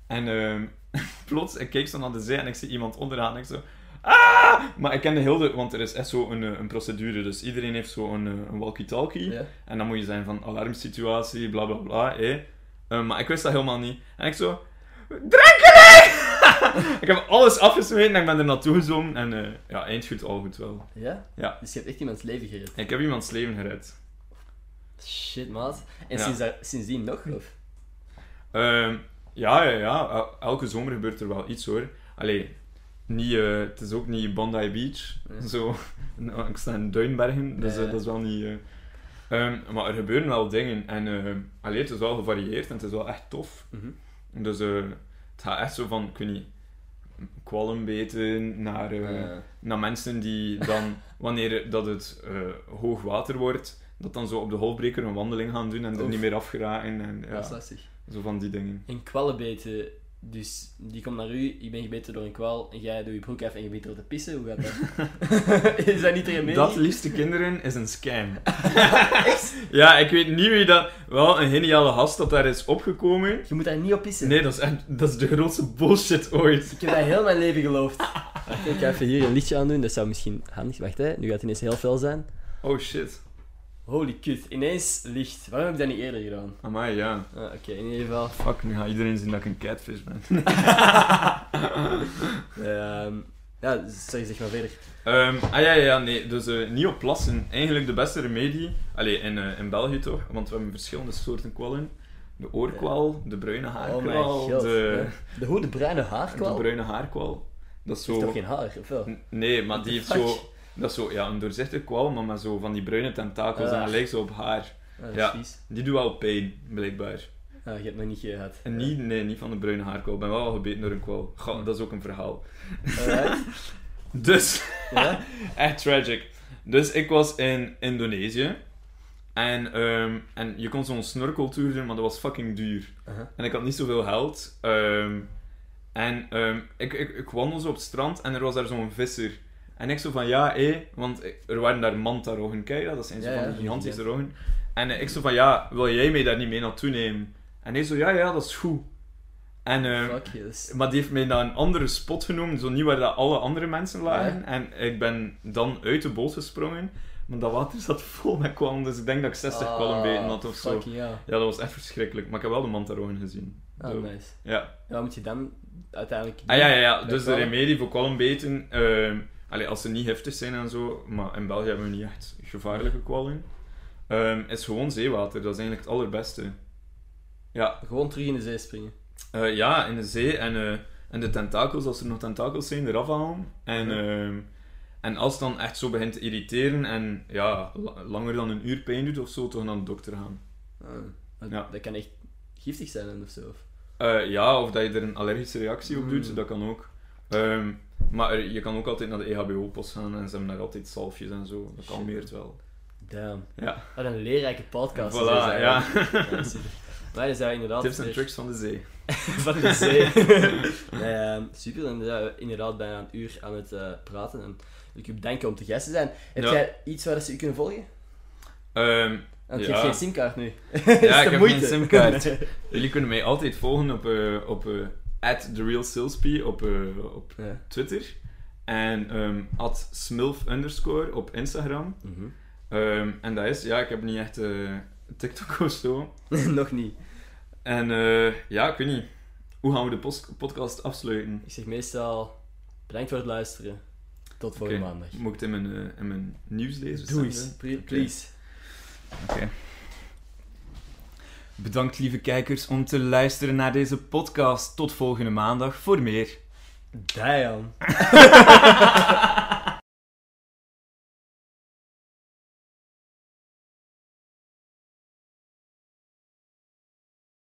[SPEAKER 2] En ehm, plots, ik kijk zo naar de zee en ik zie iemand onderaan en ik zo... Ah! Maar ik ken de hele... Want er is echt zo een, eh, een procedure. Dus iedereen heeft zo een, eh, een walkie-talkie.
[SPEAKER 1] Ja.
[SPEAKER 2] En dan moet je zijn van alarmsituatie, bla bla bla. hè. Eh, maar ik wist dat helemaal niet. En ik zo... Drinken! ik heb alles afgesmeten en ik ben er naartoe gezongen. En eh, ja, eind goed, al goed wel.
[SPEAKER 1] Ja?
[SPEAKER 2] Ja.
[SPEAKER 1] Dus je hebt echt iemands leven gered.
[SPEAKER 2] Ik heb iemands leven gered.
[SPEAKER 1] Shit, maat. En
[SPEAKER 2] Ja.
[SPEAKER 1] sinds daar, sindsdien nog? Of?
[SPEAKER 2] Ehm, ja, ja, ja. El- Elke zomer gebeurt er wel iets hoor. Allee, niet, eh, het is ook niet Bondi Beach.
[SPEAKER 1] Ja.
[SPEAKER 2] Zo, nou, ik sta in Duinbergen, dus
[SPEAKER 1] Ja,
[SPEAKER 2] eh,
[SPEAKER 1] ja.
[SPEAKER 2] dat is wel niet. eh. Ehm, maar er gebeuren wel dingen. En ehm, allee, het is wel gevarieerd en het is wel echt tof.
[SPEAKER 1] Mhm.
[SPEAKER 2] Dus eh, het gaat echt zo van, ik weet niet, kwalmbeten naar. eh,
[SPEAKER 1] Eh,
[SPEAKER 2] naar mensen die dan, wanneer dat het eh, hoog water wordt, dat dan zo op de golfbreker een wandeling gaan doen en er
[SPEAKER 1] Oef.
[SPEAKER 2] niet meer afgeraken. En, ja,
[SPEAKER 1] Dat is lastig.
[SPEAKER 2] zo van die dingen.
[SPEAKER 1] En kwallenbeten, Dus die komt naar u, ik ben gebeten door een kwaal, en jij doet je broek af en je bent er te pissen. Hoe gaat dat? is dat niet ermee?
[SPEAKER 2] Dat, liefste kinderen, is een scam. Ja, ik weet niet wie dat... Wel, een geniale gast dat daar is opgekomen.
[SPEAKER 1] Je moet daar niet op pissen.
[SPEAKER 2] Nee, dat is echt... Dat is de grootste bullshit ooit.
[SPEAKER 1] Ik heb dat heel mijn leven geloofd. Wacht, ik ga even hier een liedje aan doen, dat zou misschien handig... Wacht, hè. nu gaat het ineens heel fel zijn.
[SPEAKER 2] Oh shit.
[SPEAKER 1] Holy kut, ineens licht. Waarom heb ik dat niet eerder gedaan?
[SPEAKER 2] Amai, ja.
[SPEAKER 1] Ah, Oké, in ieder geval.
[SPEAKER 2] Fuck, nu gaat iedereen zien dat ik een catfish ben.
[SPEAKER 1] Ehm, ja, sorry, zeg maar verder.
[SPEAKER 2] Ehm, ah ja, ja, ja, nee. Dus eh, niet op plassen. Eigenlijk de beste remedie. Allee, in, eh, in België toch? Want we hebben verschillende soorten kwallen. De oorkwal, de bruine haarkwal,
[SPEAKER 1] Oh god,
[SPEAKER 2] Ah, de,
[SPEAKER 1] hè. De hoe, de bruine haarkwal?
[SPEAKER 2] de bruine haarkwal. Dat is
[SPEAKER 1] Heeft
[SPEAKER 2] zo...
[SPEAKER 1] toch geen haar, of wel?
[SPEAKER 2] N- Nee, maar die heeft
[SPEAKER 1] Fuck.
[SPEAKER 2] zo... Dat is zo, ja, een doorzichtig kwal, maar met zo van die bruine tentakels en
[SPEAKER 1] Ah.
[SPEAKER 2] dat lijkt zo op haar.
[SPEAKER 1] Ah, dat is
[SPEAKER 2] Ja.
[SPEAKER 1] vies.
[SPEAKER 2] Die doet wel pijn, blijkbaar.
[SPEAKER 1] Ah, je hebt nog niet gehad.
[SPEAKER 2] En niet, nee, niet van de bruine haarkwal. Ik ben wel al gebeten door een kwal. Goh, dat is ook een verhaal.
[SPEAKER 1] Alright.
[SPEAKER 2] Dus...
[SPEAKER 1] Ja?
[SPEAKER 2] Echt tragic. Dus ik was in Indonesië. En, ehm, en je kon zo'n snorkeltour doen, maar dat was fucking duur.
[SPEAKER 1] Aha.
[SPEAKER 2] En ik had niet zoveel geld. Ehm, en ehm, ik, ik, ik wandelde zo op het strand en er was daar zo'n visser. En ik zo van, ja, hé, want er waren daar mantaroggen. Kijk je dat? Dat zijn zo
[SPEAKER 1] Ja,
[SPEAKER 2] van
[SPEAKER 1] ja,
[SPEAKER 2] die gigantische
[SPEAKER 1] ja.
[SPEAKER 2] roggen. En eh, ik zo van, ja, wil jij mij daar niet mee naartoe nemen? En hij zo, ja, ja, dat is goed. En ehm,
[SPEAKER 1] Fuck yes.
[SPEAKER 2] maar die heeft mij naar een andere spot genomen, zo niet waar dat alle andere mensen lagen. En ik ben dan uit de boot gesprongen, maar dat water zat vol met kwallen, dus ik denk dat ik 60 kwallen beten had of zo.
[SPEAKER 1] Ah, Fuck ja.
[SPEAKER 2] Ja, dat was echt verschrikkelijk, maar ik heb wel de mantaroon gezien.
[SPEAKER 1] Ah,
[SPEAKER 2] Zo.
[SPEAKER 1] nice.
[SPEAKER 2] Ja.
[SPEAKER 1] En wat moet je dan uiteindelijk doen?
[SPEAKER 2] Ah, ja, ja, ja.
[SPEAKER 1] Bij
[SPEAKER 2] dus de
[SPEAKER 1] kwallen?
[SPEAKER 2] remedie voor kwallenbeten, ehm allee, als ze niet heftig zijn en zo, maar in België hebben we niet echt gevaarlijke kwallen, ehm, is gewoon zeewater. Dat is eigenlijk het allerbeste. Ja,
[SPEAKER 1] Gewoon terug in de zee springen.
[SPEAKER 2] Eh, ja, in de zee. En, eh, en de tentakels, als er nog tentakels zijn, eraf halen. En, ehm, en als het dan echt zo begint te irriteren en ja, la- langer dan een uur pijn doet of zo, toch naar de dokter gaan.
[SPEAKER 1] Ah, dat-
[SPEAKER 2] Ja.
[SPEAKER 1] Dat kan echt giftig zijn dan of zo. of-
[SPEAKER 2] Eh, ja, of dat je er een allergische reactie op doet,
[SPEAKER 1] Mm.
[SPEAKER 2] dat kan ook. Ehm, maar er- je kan ook altijd naar de E EHBO-post gaan en ze hebben daar altijd zalfjes en zo. Dat
[SPEAKER 1] Shit.
[SPEAKER 2] kalmeert wel.
[SPEAKER 1] Damn.
[SPEAKER 2] Ja.
[SPEAKER 1] Wat een leerrijke podcast. is
[SPEAKER 2] Voilà,
[SPEAKER 1] deze
[SPEAKER 2] ja.
[SPEAKER 1] eigenlijk. Ja, super. Maar dan zijn we inderdaad...
[SPEAKER 2] Tips en
[SPEAKER 1] weer-
[SPEAKER 2] tricks van de zee.
[SPEAKER 1] van de zee. nee, ehm, super, dan zijn we inderdaad bijna een uur aan het eh, praten. En wil ik u bedanken om te gast te zijn. Heb
[SPEAKER 2] Ja.
[SPEAKER 1] jij iets waar ze u kunnen volgen?
[SPEAKER 2] Ehm,
[SPEAKER 1] Want je
[SPEAKER 2] Ja.
[SPEAKER 1] hebt geen simkaart nu. ja,
[SPEAKER 2] Ja, ik heb geen simkaart. jullie kunnen mij altijd volgen op, eh op eh @therealsalespy op, eh, op
[SPEAKER 1] ja.
[SPEAKER 2] Twitter. En ehm at smilf underscore op Instagram.
[SPEAKER 1] Mhm.
[SPEAKER 2] Ehm, en dat is, ja, ik heb niet echt eh, TikTok of zo.
[SPEAKER 1] Nog niet.
[SPEAKER 2] En eh, ja, ik weet niet. Hoe gaan we de post- podcast afsluiten?
[SPEAKER 1] Ik zeg meestal, bedankt voor het luisteren. Tot volgende
[SPEAKER 2] Oké.
[SPEAKER 1] maandag.
[SPEAKER 2] Moet ik het in mijn, eh, in mijn nieuws lezen?
[SPEAKER 1] Doei.
[SPEAKER 2] Stemmen?
[SPEAKER 1] Pre- Please.
[SPEAKER 2] Bedankt lieve kijkers om te luisteren naar deze podcast. Tot volgende maandag voor meer.
[SPEAKER 1] Damn.